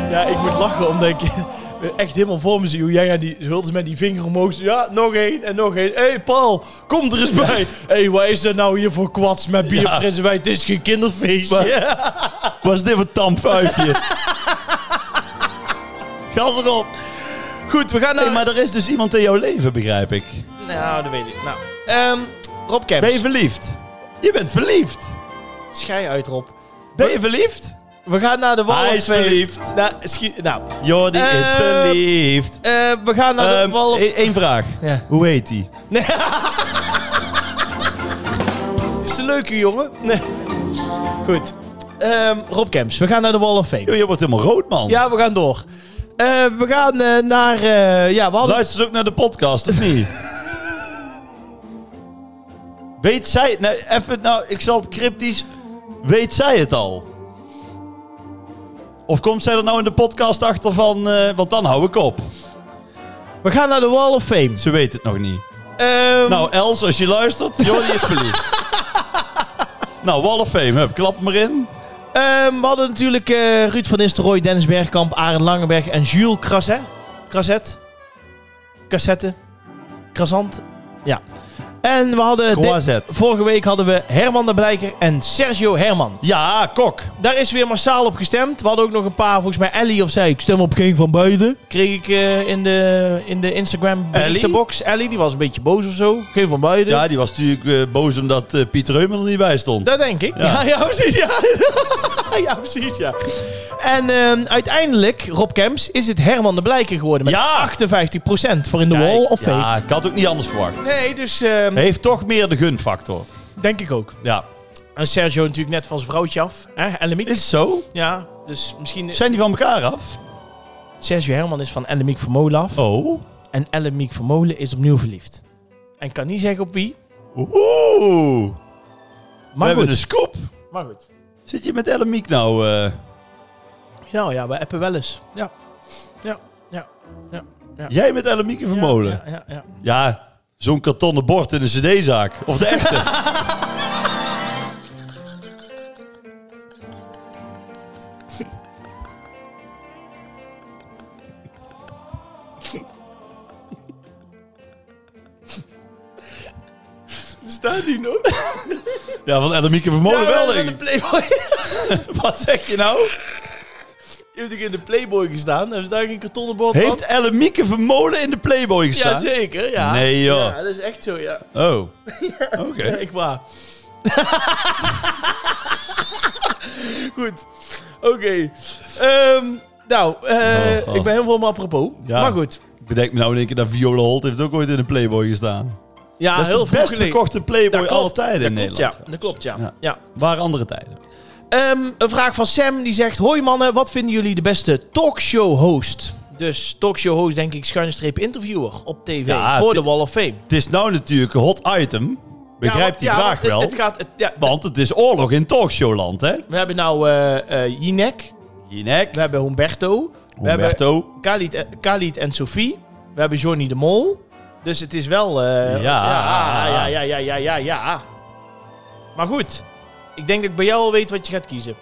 Ja, ik moet lachen omdat ik echt helemaal voor me zie hoe jij aan die hulde met die vinger omhoog. zo- Ja, nog één en nog één. Hé hey Paul, kom er eens bij. Hé, hey, wat is dat nou hier voor kwats met bier, Ja. frisse wijn? Het is geen kinderfeestje. Wat is dit voor tamfuifje? Gas erop. Goed, we gaan naar... Hey, maar er is dus iemand in jouw leven, begrijp ik. Nou, dat weet ik. Nou, ehm, Rob Kemps. Ben je verliefd? Je bent verliefd. Schij uit, Rob. Ben je verliefd? We gaan naar de Wall Hij of is Fame. verliefd. Nou, schiet- nou Jordi is Eh, verliefd. eh, we gaan naar de Ehm, Wall of... e- één vraag. Ja. Hoe heet hij? Is een leuke jongen. Nee. Goed. Ehm, Rob Kemps, we gaan naar de Wall of Fame. Je wordt helemaal rood, man. Ja, we gaan door. Eh, we gaan eh, naar... eh, ja, we hadden... Luister ze ook naar de podcast, of niet? Weet zij het? Nou, even, nou, ik zal het cryptisch. Weet zij het al? Of komt zij er nou in de podcast achter van... eh, want dan hou ik op. We gaan naar de Wall of Fame. Ze weet het nog niet. Ehm, Nou, Els, als je luistert, Jordi is verliefd. nou, Wall of Fame, hup, klap maar in. Ehm, we hadden natuurlijk eh, Ruud van Nistelrooy, Dennis Bergkamp, Arend Langenberg en Jules Crasset. Crasset? Cassette? Crasant? Ja. En we hadden... de- Croisset. Vorige week hadden we Herman de Blijker en Sergio Herman. Ja, kok. Daar is weer massaal op gestemd. We hadden ook nog een paar, volgens mij Ellie of zij. Ik stem op geen van beiden. Kreeg ik eh, in, de, in de Instagram box. Ellie, die was een beetje boos of zo. Geen van beiden. Ja, die was natuurlijk eh, boos omdat eh, Pieter Heumen er niet bij stond. Dat denk ik. Ja, Ja. ja, precies. Ja. ja, precies, ja. En ehm, uiteindelijk, Rob Kemps, is het Herman de Blijker geworden met Ja. 58% voor in de Kijk, wall of fake. Ja, ik had ook niet anders verwacht. Nee, dus ehm, Heeft toch meer de gunfactor. denk ik ook. Ja. En Sergio natuurlijk net van zijn vrouwtje af. Hè? Ellemiek. Is het zo? Ja, dus misschien... is- Zijn die van elkaar af? Sergio Herman is van Ellemiek Vermolen af. Oh. En Ellemiek Vermolen is opnieuw verliefd. En kan niet zeggen op wie, Oeh. We maar hebben goed. een scoop. Maar goed. Zit je met Ellemiek nou? eh? Nou ja, we appen wel eens. Ja. Ja, ja. Jij met Ellemiek in Vermolen? Ja, ja, ja. Ja, zo'n kartonnen bord in een cd-zaak. Of de echte. Staat die nog? ja, van Ellemiek in Vermolen wel, in denk de ik. Playboy. Wat zeg je nou? Je hebt ook in de Playboy gestaan. Hebben ze daar geen kartonnen bord Heeft Ellemieke Vermolen in de Playboy Ja, gestaan? zeker. Ja. Nee, joh. Ja, dat is echt zo, ja. oh, oké. Echt waar. goed. Oké. Ehm, nou, eh, Oh, oh. ik ben helemaal apropos. Ja. Maar goed. Ik bedenk me nou in één keer dat Viola Holt heeft ook ooit in de Playboy gestaan. Ja, dat is heel de best geleden. verkochte Playboy Dat klopt. aller tijden in Dat klopt, Nederland. ja. trouwens. Dat klopt, ja. Ja. ja. Waren andere tijden. Ehm, een vraag van Sam. Die zegt... Hoi mannen, wat vinden jullie de beste talkshow host? Dus talkshow host, denk ik, schuinstreep interviewer op tv. Ja, voor de dit- Wall of Fame. Het is nou natuurlijk een hot item. Begrijp Ja, want- die Nou, ja, want vraag het- wel. Het, gaat, het- ja, want het is oorlog in talkshowland, hè? we hebben nou eh eh, Jinek, Jinek, we hebben Humberto, we hebben Humberto. Khalid, en- Khalid en Sophie, we hebben Johnny de Mol. Dus het is wel... eh, Ja. ja, ja, ja, ja, ja, ja. Maar goed, ik denk dat ik bij jou al weet wat je gaat kiezen.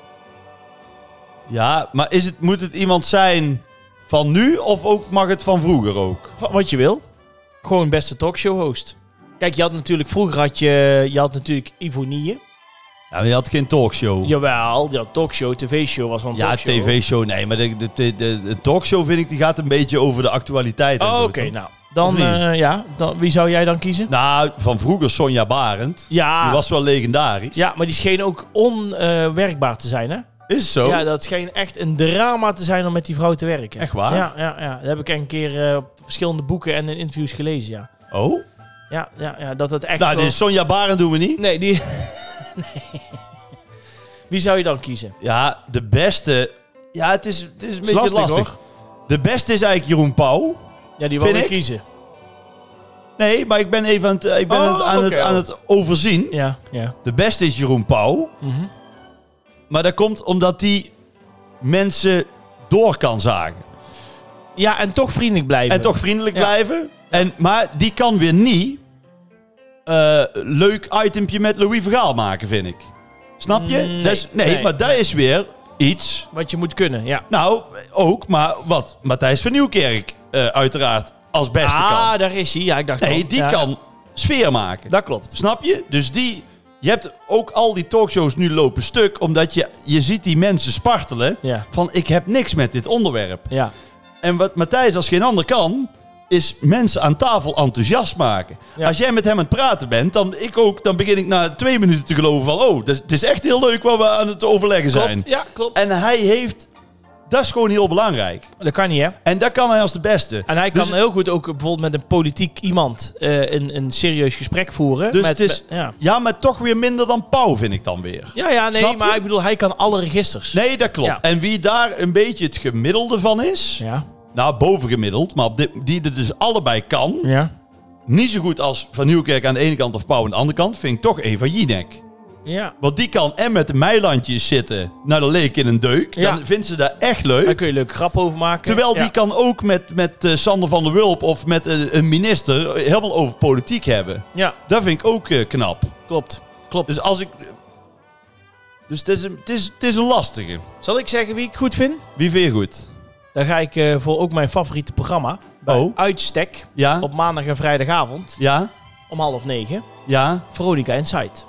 Ja, maar is het, moet het iemand zijn van nu of ook, mag het van vroeger ook? Va- Wat je wil. Gewoon beste talkshow host. Kijk, je had natuurlijk vroeger had je, je had natuurlijk Ivonie. Ja, maar je had geen talkshow. Jawel, die had talkshow, tv-show was van Ja, talkshow. tv-show, nee, maar de, de, de, de- de talkshow vind ik, die gaat een beetje over de actualiteit. en Oh, zo, Oké, toch? nou. Of Dan, niet? eh, ja, dan, wie zou jij dan kiezen? Nou, van vroeger Sonja Barend. Ja. Die was wel legendarisch. Ja, maar die scheen ook onwerkbaar te zijn, hè? Is het zo? Ja, dat scheen echt een drama te zijn om met die vrouw te werken. Echt waar? Ja, ja, ja. dat heb ik een keer eh, op verschillende boeken en in interviews gelezen, ja. Oh? Ja, ja, ja dat het echt Nou, wel- die Sonja Barend doen we niet. Nee, die... nee. Wie zou je dan kiezen? Ja, de beste... Ja, het is, het is een beetje lastig, lastig. De beste is eigenlijk Jeroen Pauw. Ja, die wil Vind ik ik? kiezen. Nee, maar ik ben even aan het, ik ben Oh, aan het, aan oké. het, aan het overzien. Ja, ja. De beste is Jeroen Pauw. Mhm. Maar dat komt omdat die mensen door kan zagen. Ja, en toch vriendelijk blijven. En toch vriendelijk Ja. blijven. En, maar die kan weer niet eh, leuk itempje met Louis Vergaal maken, vind ik. Snap je? Nee. Dat is- nee, Nee. maar dat is weer iets. Wat je moet kunnen, ja. Nou, ook, maar wat Matthijs van Nieuwkerk eh, uiteraard als beste Ah, kan. daar is hij. Ja, ik dacht Nee, al. die Ja, kan sfeer maken. Dat klopt. Snap je? Dus die... Je hebt ook al die talkshows nu lopen stuk, omdat je, je ziet die mensen spartelen Ja. van ik heb niks met dit onderwerp. Ja. En wat Matthijs als geen ander kan, is mensen aan tafel enthousiast maken. Ja. Als jij met hem aan het praten bent, dan, ik ook, dan begin ik na twee minuten te geloven van... oh, dat is- het is echt heel leuk wat we aan het overleggen zijn. Klopt. Ja, klopt. En hij heeft... Dat is gewoon heel belangrijk. Dat kan niet, hè? En dat kan hij als de beste. En hij Dus- kan heel goed ook bijvoorbeeld met een politiek iemand eh, een, een serieus gesprek voeren. Dus met, het is... Ja, Ja, maar toch weer minder dan Pauw, vind ik dan weer. ja, ja nee, Snap je? maar ik bedoel, hij kan alle registers. Nee, dat klopt. Ja. En wie daar een beetje het gemiddelde van is... Ja, Nou, bovengemiddeld, maar op dit, die er dus allebei kan... ja. Niet zo goed als Van Nieuwkerk aan de ene kant of Pauw aan de andere kant, vind ik toch Eva Jinek. Ja, Want die kan en met de meilandjes zitten naar de leek in een deuk. Ja. Dan vindt ze dat echt leuk. daar kun je leuk grap over maken. Terwijl Ja. die kan ook met, met eh, Sander van der Wulp of met eh, een minister helemaal over politiek hebben. Ja, Dat vind ik ook eh, knap. klopt. Klopt. Dus als ik... Dus het is, een, het, is, het is een lastige. Zal ik zeggen wie ik goed vind? Wie vind je goed? Dan ga ik eh, voor ook mijn favoriete programma. Bij Oh. Uitstek. Ja? Op maandag en vrijdagavond Ja? om half negen. Ja? Veronica Insight.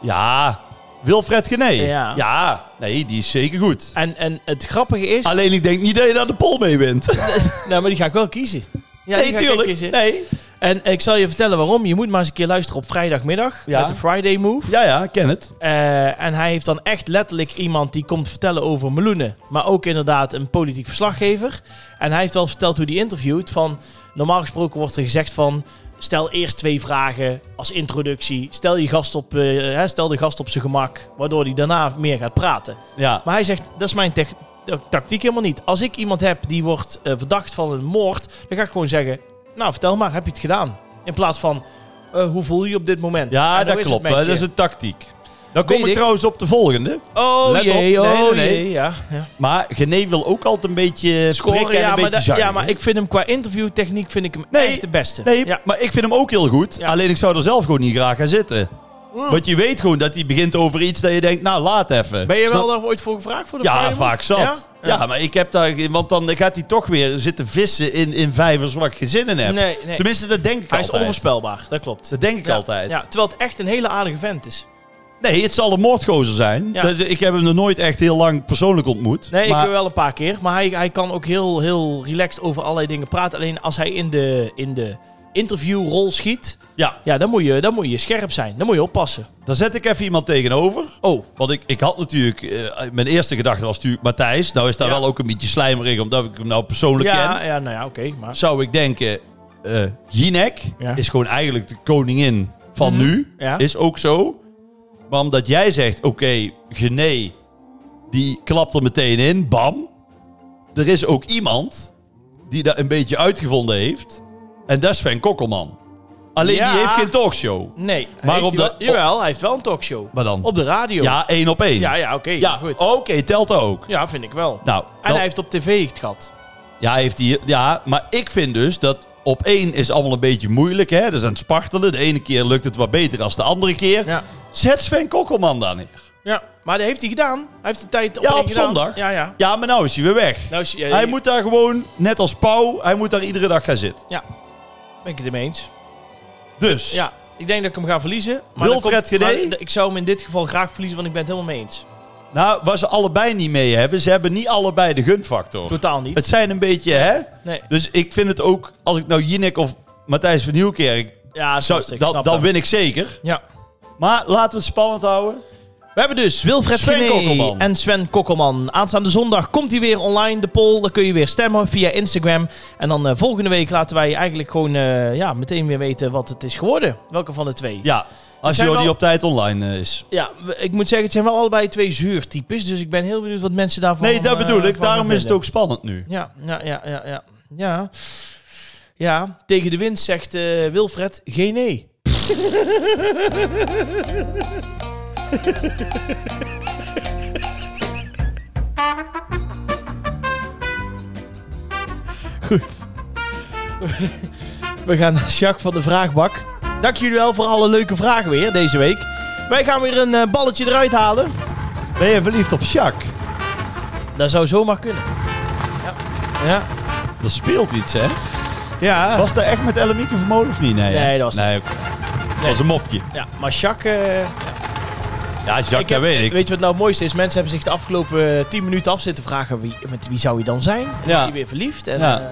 Ja. Wilfred Gené. Ja. Nee, die is zeker goed. En, en het grappige is... Alleen ik denk niet dat je daar de pol mee wint. Nou, maar die ga ik wel kiezen. Ja, die nee, ga ik tuurlijk. kiezen. Nee. En ik zal je vertellen waarom. Je moet maar eens een keer luisteren op vrijdagmiddag. Ja. Met de Friday Move. Ja, ja, ik ken het. Eh, en hij heeft dan echt letterlijk iemand die komt vertellen over meloenen. Maar ook inderdaad een politiek verslaggever. En hij heeft wel verteld hoe hij interviewt. Van, normaal gesproken wordt er gezegd van... Stel eerst twee vragen als introductie. Stel, je gast op, eh, hè, stel de gast op zijn gemak. Waardoor hij daarna meer gaat praten. Ja. Maar hij zegt, dat is mijn tech- ta- tactiek helemaal niet. Als ik iemand heb die wordt eh, verdacht van een moord... dan ga ik gewoon zeggen, nou vertel maar, heb je het gedaan? In plaats van, eh, hoe voel je je op dit moment? En Ja, hoe dat nou is het klopt. met Dat je? is een tactiek. Dan kom Weet ik, ik. trouwens op de volgende. Oh Let op. jee, oh Nee, nee, nee. jee, ja. ja. Maar Gené wil ook altijd een beetje scoren en ja, een maar, beetje da- zuigen. ja, maar ik vind hem qua interviewtechniek vind ik hem Nee, echt de beste. Nee, ja. maar ik vind hem ook heel goed. Ja. Hmm. Alleen ik zou er zelf gewoon niet graag gaan zitten. Want je weet gewoon dat hij begint over iets dat je denkt, nou laat even. Ben je Snap- wel daar ooit voor gevraagd? Voor de Ja, Friday Move? vaak zat. Ja? Ja? maar ik heb daar... geen- Want dan gaat hij toch weer zitten vissen in, in vijvers waar ik geen zin in heb. Nee, nee. Tenminste, dat denk ik Hij is altijd. onvoorspelbaar, dat klopt. Dat denk ik Ja, altijd. Ja, terwijl het echt een hele aardige vent is. Nee, het zal een moordgozer zijn. Ja. Dat- ik heb hem nog nooit echt heel lang persoonlijk ontmoet. Nee, maar, ik wel een paar keer. Maar hij, hij kan ook heel, heel relaxed over allerlei dingen praten. Alleen als hij in de, in de interviewrol schiet, Ja, ja, dan, moet je, dan moet je scherp zijn. Dan moet je oppassen. daar zet ik even iemand tegenover. Oh, Want ik, ik had natuurlijk... eh, mijn eerste gedachte was natuurlijk Matthijs. Nou is daar Ja. wel ook een beetje slijmerig, omdat ik hem nou persoonlijk ken. ja, ja, nou ja, oké. maar zou ik denken, eh Jinek Ja. Mhm. is gewoon eigenlijk de koningin van nu. ja. Is ook zo. Maar omdat jij zegt, oké, Gené, die klapt er meteen in, bam. Er is ook iemand die dat een beetje uitgevonden heeft. En dat is Sven Kokkelman. Alleen Ja. die heeft geen talkshow. nee. Maar heeft op hij de- wel, jawel, hij heeft wel een talkshow. Maar dan? Op de radio. Ja, één op één. ja, ja oké. Ja, goed. oké, telt dat ook. Ja, vind ik wel. Nou, en dan- hij heeft op tv het gehad. Ja, heeft hij, ja, maar ik vind dus dat op één is allemaal een beetje moeilijk. Hè? Dat is aan het spartelen. De ene keer lukt het wat beter dan de andere keer. Ja. Zet Sven Kokkelman dan neer. Ja. Maar dat heeft hij gedaan. Hij heeft de tijd op Ja, één op gedaan. zondag. Ja, ja. Ja, maar nou is hij weer weg. Nou, is- ja, hij ja, moet daar gewoon, net als Pauw, hij moet daar iedere dag gaan zitten. Ja, ben ik het ermee eens. Dus, Ja, ik denk dat ik hem ga verliezen. Maar Wilfred dan komt- Gené? maar Ik zou hem in dit geval graag verliezen, want ik ben het helemaal mee eens. nou, waar ze allebei niet mee hebben, ze hebben niet allebei de gunfactor. Totaal niet. Het zijn een beetje, hè? Nee. Dus ik vind het ook, als ik nou Jinek of Matthijs van Nieuwkerk, Ja, dat is zou, lastig, ik dan, snap dan dat. win ik zeker. Ja. Maar laten we het spannend houden. We hebben dus Wilfred Sven Gené Kokkelman. en Sven Kokkelman. Aanstaande zondag komt hij weer online, de poll. Dan kun je weer stemmen via Instagram. En dan eh, volgende week laten wij eigenlijk gewoon eh, ja, meteen weer weten wat het is geworden. Welke van de twee. Ja, als zijn Jordi wel- op tijd online eh, is. Ja, we- ik moet zeggen, het zijn wel allebei twee zuurtypes. Dus ik ben heel benieuwd wat mensen daarvan Nee, dat eh, bedoel ik. van Daarom is het vinden. ook spannend nu. Ja, ja, ja, ja, ja. Ja, ja tegen de wind zegt eh, Wilfred geen nee. Goed. We gaan naar Jacques van de Vraagbak. Dank jullie wel voor alle leuke vragen weer deze week. Wij gaan weer een eh, balletje eruit halen. Ben je verliefd op Jacques? Dat zou zomaar kunnen. Ja. Ja. Dat speelt iets, hè? ja. Was dat echt met Ellemieke Vermolen of niet? Nee, hè? Nee, dat was nee, oké. Dat was een mopje. Ja, maar Jacques... eh, Ja, Jacques, dat heb- weet ik. Weet je wat nou het mooiste is? Mensen hebben zich de afgelopen eh, 10 minuten af zitten vragen wie, met wie zou je dan zijn? En Ja. is hij weer verliefd? En, Ja. eh,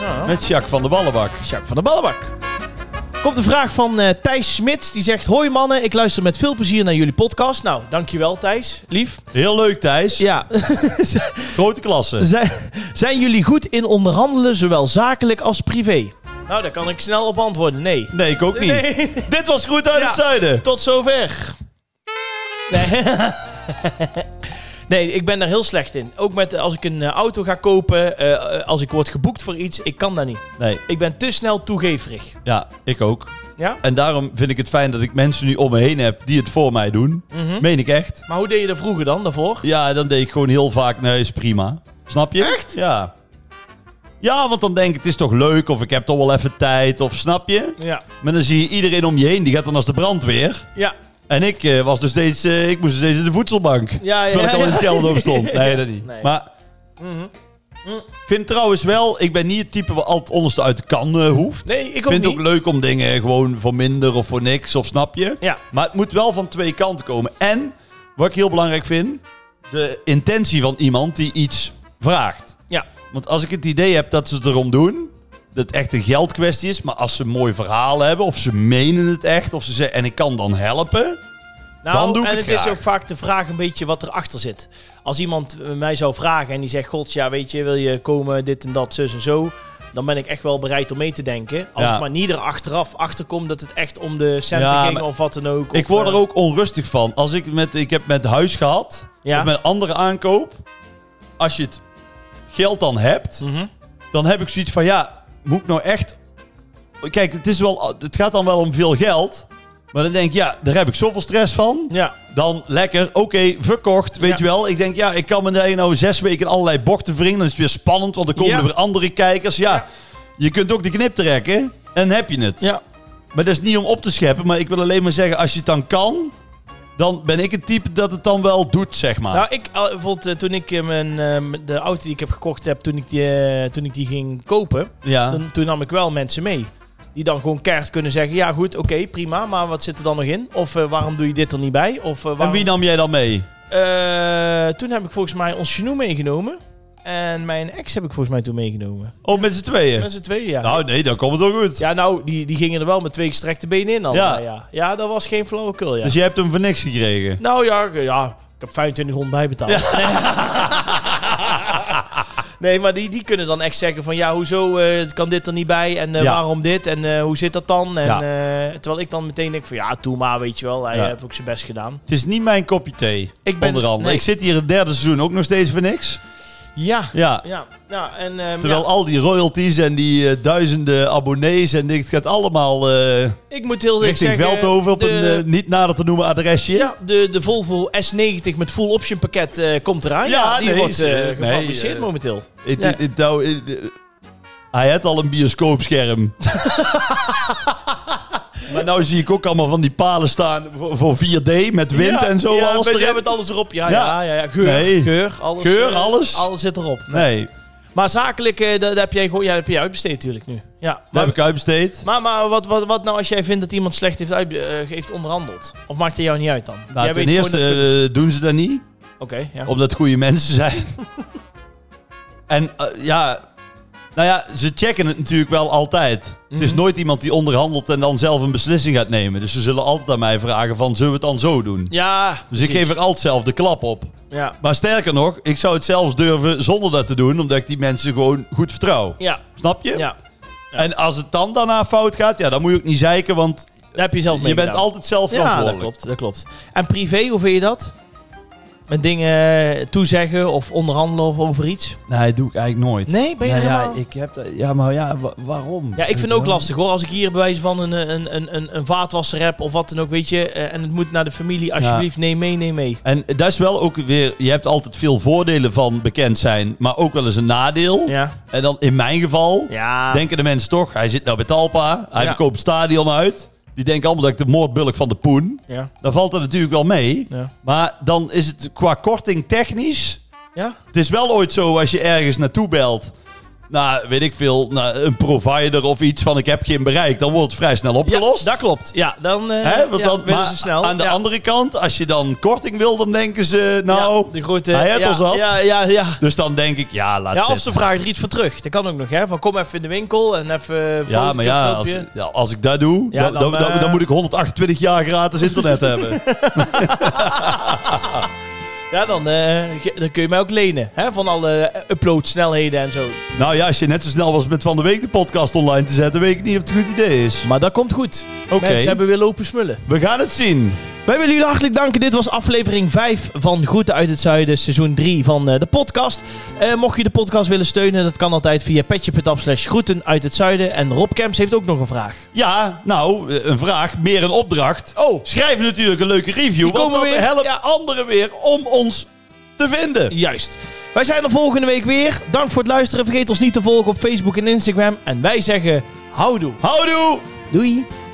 ja. Met Jacques van de Ballenbak. Jacques van de Ballenbak. Komt een vraag van eh, Thijs Smits. Die zegt, hoi mannen, ik luister met veel plezier naar jullie podcast. Nou, dankjewel Thijs. Lief. Heel leuk, Thijs. Ja. Grote klasse. zijn, zijn jullie goed in onderhandelen, zowel zakelijk als privé? Nou, daar kan ik snel op antwoorden. Nee. Nee, ik ook niet. Nee. Dit was Groet uit Ja. het Zuiden. Tot zover. Nee. nee, ik ben daar heel slecht in. Ook met eh, als ik een eh, auto ga kopen, eh, eh, als ik word geboekt voor iets, ik kan dat niet. Nee, Ik ben te snel toegeverig. ja, ik ook. Ja? En daarom vind ik het fijn dat ik mensen nu om me heen heb die het voor mij doen. Mhm. Meen ik echt. Maar hoe deed je dat vroeger dan, daarvoor? Ja, dan deed ik gewoon heel vaak, nee, is prima. Snap je? Echt? Ja. Ja, want dan denk ik, het is toch leuk, of ik heb toch wel even tijd, of snap je? Ja. Maar dan zie je iedereen om je heen, die gaat dan als de brandweer. Ja. En ik, eh, was dus steeds, eh, ik moest dus steeds in de voedselbank. Ja, ja, terwijl ik ja, al in ja. het kelderdoom stond. Nee, dat niet. Nee. Mhm. Maar ik vind trouwens wel, ik ben niet het type wat altijd onderste uit de kan eh, hoeft. Nee, ik Ik ook vind niet. het ook leuk om dingen gewoon voor minder of voor niks, of snap je? Ja. Maar het moet wel van twee kanten komen. En, wat ik heel belangrijk vind, de intentie van iemand die iets vraagt. Ja. Want als ik het idee heb dat ze het erom doen, dat het echt een geldkwestie is, maar als ze een mooi verhaal hebben, of ze menen het echt, of ze zeggen, en ik kan dan helpen. Nou, Dan doe ik en het is graag. ook vaak de vraag een beetje wat erachter zit. Als iemand eh, mij zou vragen en die zegt: God, ja, weet je, wil je komen, dit en dat, zus en zo. Dan ben ik echt wel bereid om mee te denken. Als Ja. ik maar niet er achteraf achter kom dat het echt om de centen Ja, ging maar of wat dan ook. ik of, word er eh, ook onrustig van. Als ik, met, ik heb met huis gehad, Ja. of met andere aankoop, als je het geld dan hebt, Mhm. dan heb ik zoiets van, ja, moet ik nou echt... Kijk, het, is wel, het gaat dan wel om veel geld, maar dan denk ik, ja, daar heb ik zoveel stress van. Ja, Dan lekker, oké, verkocht, weet Ja. je wel. Ik denk, ja, ik kan me daar nou zes weken in allerlei bochten wringen. Dan is het weer spannend, want dan komen Ja. er weer andere kijkers. Ja, je kunt ook de knip trekken en heb je het. ja. Maar dat is niet om op te scheppen, maar ik wil alleen maar zeggen, als je het dan kan... Dan ben ik het type dat het dan wel doet, zeg maar. Nou, ik, eh, bijvoorbeeld eh, toen ik eh, mijn, eh, de auto die ik heb gekocht heb, toen ik die, eh, toen ik die ging kopen, ja. toen, toen nam ik wel mensen mee. Die dan gewoon keihard kunnen zeggen, ja goed, oké, prima, maar wat zit er dan nog in? Of eh, waarom doe je dit er niet bij? Of, eh, en waarom... wie nam jij dan mee? Eh, toen heb ik volgens mij ons genoeg meegenomen. En mijn ex heb ik volgens mij toen meegenomen. Oh, met z'n tweeën? Met z'n tweeën, ja. Nou, nee, dan komt het wel goed. ja, nou, die, die gingen er wel met twee gestrekte benen in. allemaal, Ja. Ja. Ja. dat was geen flauwekul, ja. Dus je hebt hem voor niks gekregen. Nou ja, ik- ja, ik heb 25 rond bijbetaald. Nee. nee, maar die, die kunnen dan echt zeggen van... Ja, hoezo eh, kan dit er niet bij? En eh, Ja. waarom dit? En eh, hoe zit dat dan? En, Ja. eh, terwijl ik dan meteen denk van... Ja, doe maar, weet je wel. Hij eh, Ja. heeft ook zijn best gedaan. Het is niet mijn kopje thee. Ik ben- onder andere. nee. Ik zit hier het derde seizoen ook nog steeds voor niks. Ja. Ja. Ja, ja en... ehm, Terwijl ja. al die royalties en die eh, duizenden abonnees en dit, het gaat allemaal eh Ik moet heel eerlijk richting zeggen... Veldhoven op de- een eh, niet nader te noemen adresje. Ja, de, de Volvo S90 met full option pakket eh, komt eraan. Ja, Ja, die nee, wordt eh, is, eh, nee, gefabriceerd eh, momenteel. Het- Ja. het- het- nou, het- eh, hij had al een bioscoopscherm. maar nou zie ik ook allemaal van die palen staan voor, voor 4D met wind Ja, en zo. Ja, alles met, erin. ja, met alles erop. Ja, ja. Ja. Ja, ja, Geur, Nee. geur, alles. Geur, eh, alles. Alles zit erop. Nee, Maar zakelijk, eh, dat, dat heb jij gewoon ja, dat heb jij uitbesteed natuurlijk nu. Ja. dat Maar, heb ik uitbesteed. maar, maar wat, wat, wat nou als jij vindt dat iemand slecht heeft, uit, eh, heeft onderhandeld? Of maakt het jou niet uit dan? Nou, jij ten weet gewoon eerste dat het goed is. eh, doen ze dat niet. Oké, ja. omdat het goede mensen zijn. en eh, ja, nou ja, ze checken het natuurlijk wel altijd. Het Mhm. is nooit iemand die onderhandelt en dan zelf een beslissing gaat nemen. Dus ze zullen altijd aan mij vragen van, zullen we het dan zo doen? ja, Dus ik geef er altijd zelf de klap op. Ja, Maar sterker nog, ik zou het zelfs durven zonder dat te doen, omdat ik die mensen gewoon goed vertrouw. ja, Snap je? ja. En als het dan daarna fout gaat, ja, dan moet je ook niet zeiken, want Dat heb je zelf mee je bent gedaan. altijd zelf Ja, dat verantwoordelijk. klopt, dat klopt. En privé, hoe vind je dat? Met dingen eh, toezeggen of onderhandelen of over iets? Nee, doe ik eigenlijk nooit. Nee, ben je Nou er ja, helemaal... ik heb dat, ja, maar ja, wa- waarom? Ja, ik Weet vind je het ook wel? lastig hoor. Als ik hier bij wijze van een, een, een, een, een vaatwasser heb of wat dan ook, weet je. eh, En het moet naar de familie, alsjeblieft, neem mee, neem mee. En dat is wel ook weer, je hebt altijd veel voordelen van bekend zijn, maar ook wel eens een nadeel. Ja. En dan in mijn geval Ja. denken de mensen toch, hij zit nou bij Talpa, hij Ja. verkoopt het stadion uit. Die denken allemaal dat ik de moordbulk van de poen. Ja. Dan valt dat natuurlijk wel mee. Ja. Maar dan is het qua korting technisch. Ja. Het is wel ooit zo als je ergens naartoe belt. Nou, weet ik veel, naar een provider of iets van ik heb geen bereik. Dan wordt het vrij snel opgelost. Ja, dat klopt. Ja, dan, eh Hè, want ja, dan, willen maar ze snel. Aan de Ja. andere kant, als je dan korting wil, dan denken ze Ja, nou... de grote, hij had ja, al zat. Ja, ja, ja. Dus dan denk ik, ja, laat Ja, of ze zitten. vragen er iets voor terug. Dat kan ook nog, hè. Van kom even in de winkel en even een Ja, fotootje, maar ja een als, filmpje. ja, als ik dat doe, Ja, dan, dan, dan, dan, eh, dan moet ik 128 jaar gratis internet hebben. Ja, dan, eh, ge- dan kun je mij ook lenen, hè. Van alle uploadsnelheden en zo. Nou ja, als je net zo snel was met Van de Week de podcast online te zetten, weet ik niet of het een goed idee is. Maar dat komt goed. Oké. Mensen hebben weer lopen smullen. We gaan het zien. Wij willen jullie hartelijk danken. Dit was aflevering 5 van Groeten uit het Zuiden, seizoen 3 van eh, de podcast. Eh, mocht je de podcast willen steunen, dat kan altijd via petje.af slash groeten uit het Zuiden. En Rob Kemps heeft ook nog een vraag. Ja, nou, eh, een vraag, meer een opdracht. Oh. Schrijf natuurlijk een leuke review, Die want komen dat weer. helpt Ja. anderen weer om ons te vinden. Juist. Wij zijn er volgende week weer. Dank voor het luisteren. Vergeet ons niet te volgen op Facebook en Instagram. En wij zeggen houdoe. Houdoe! Doei.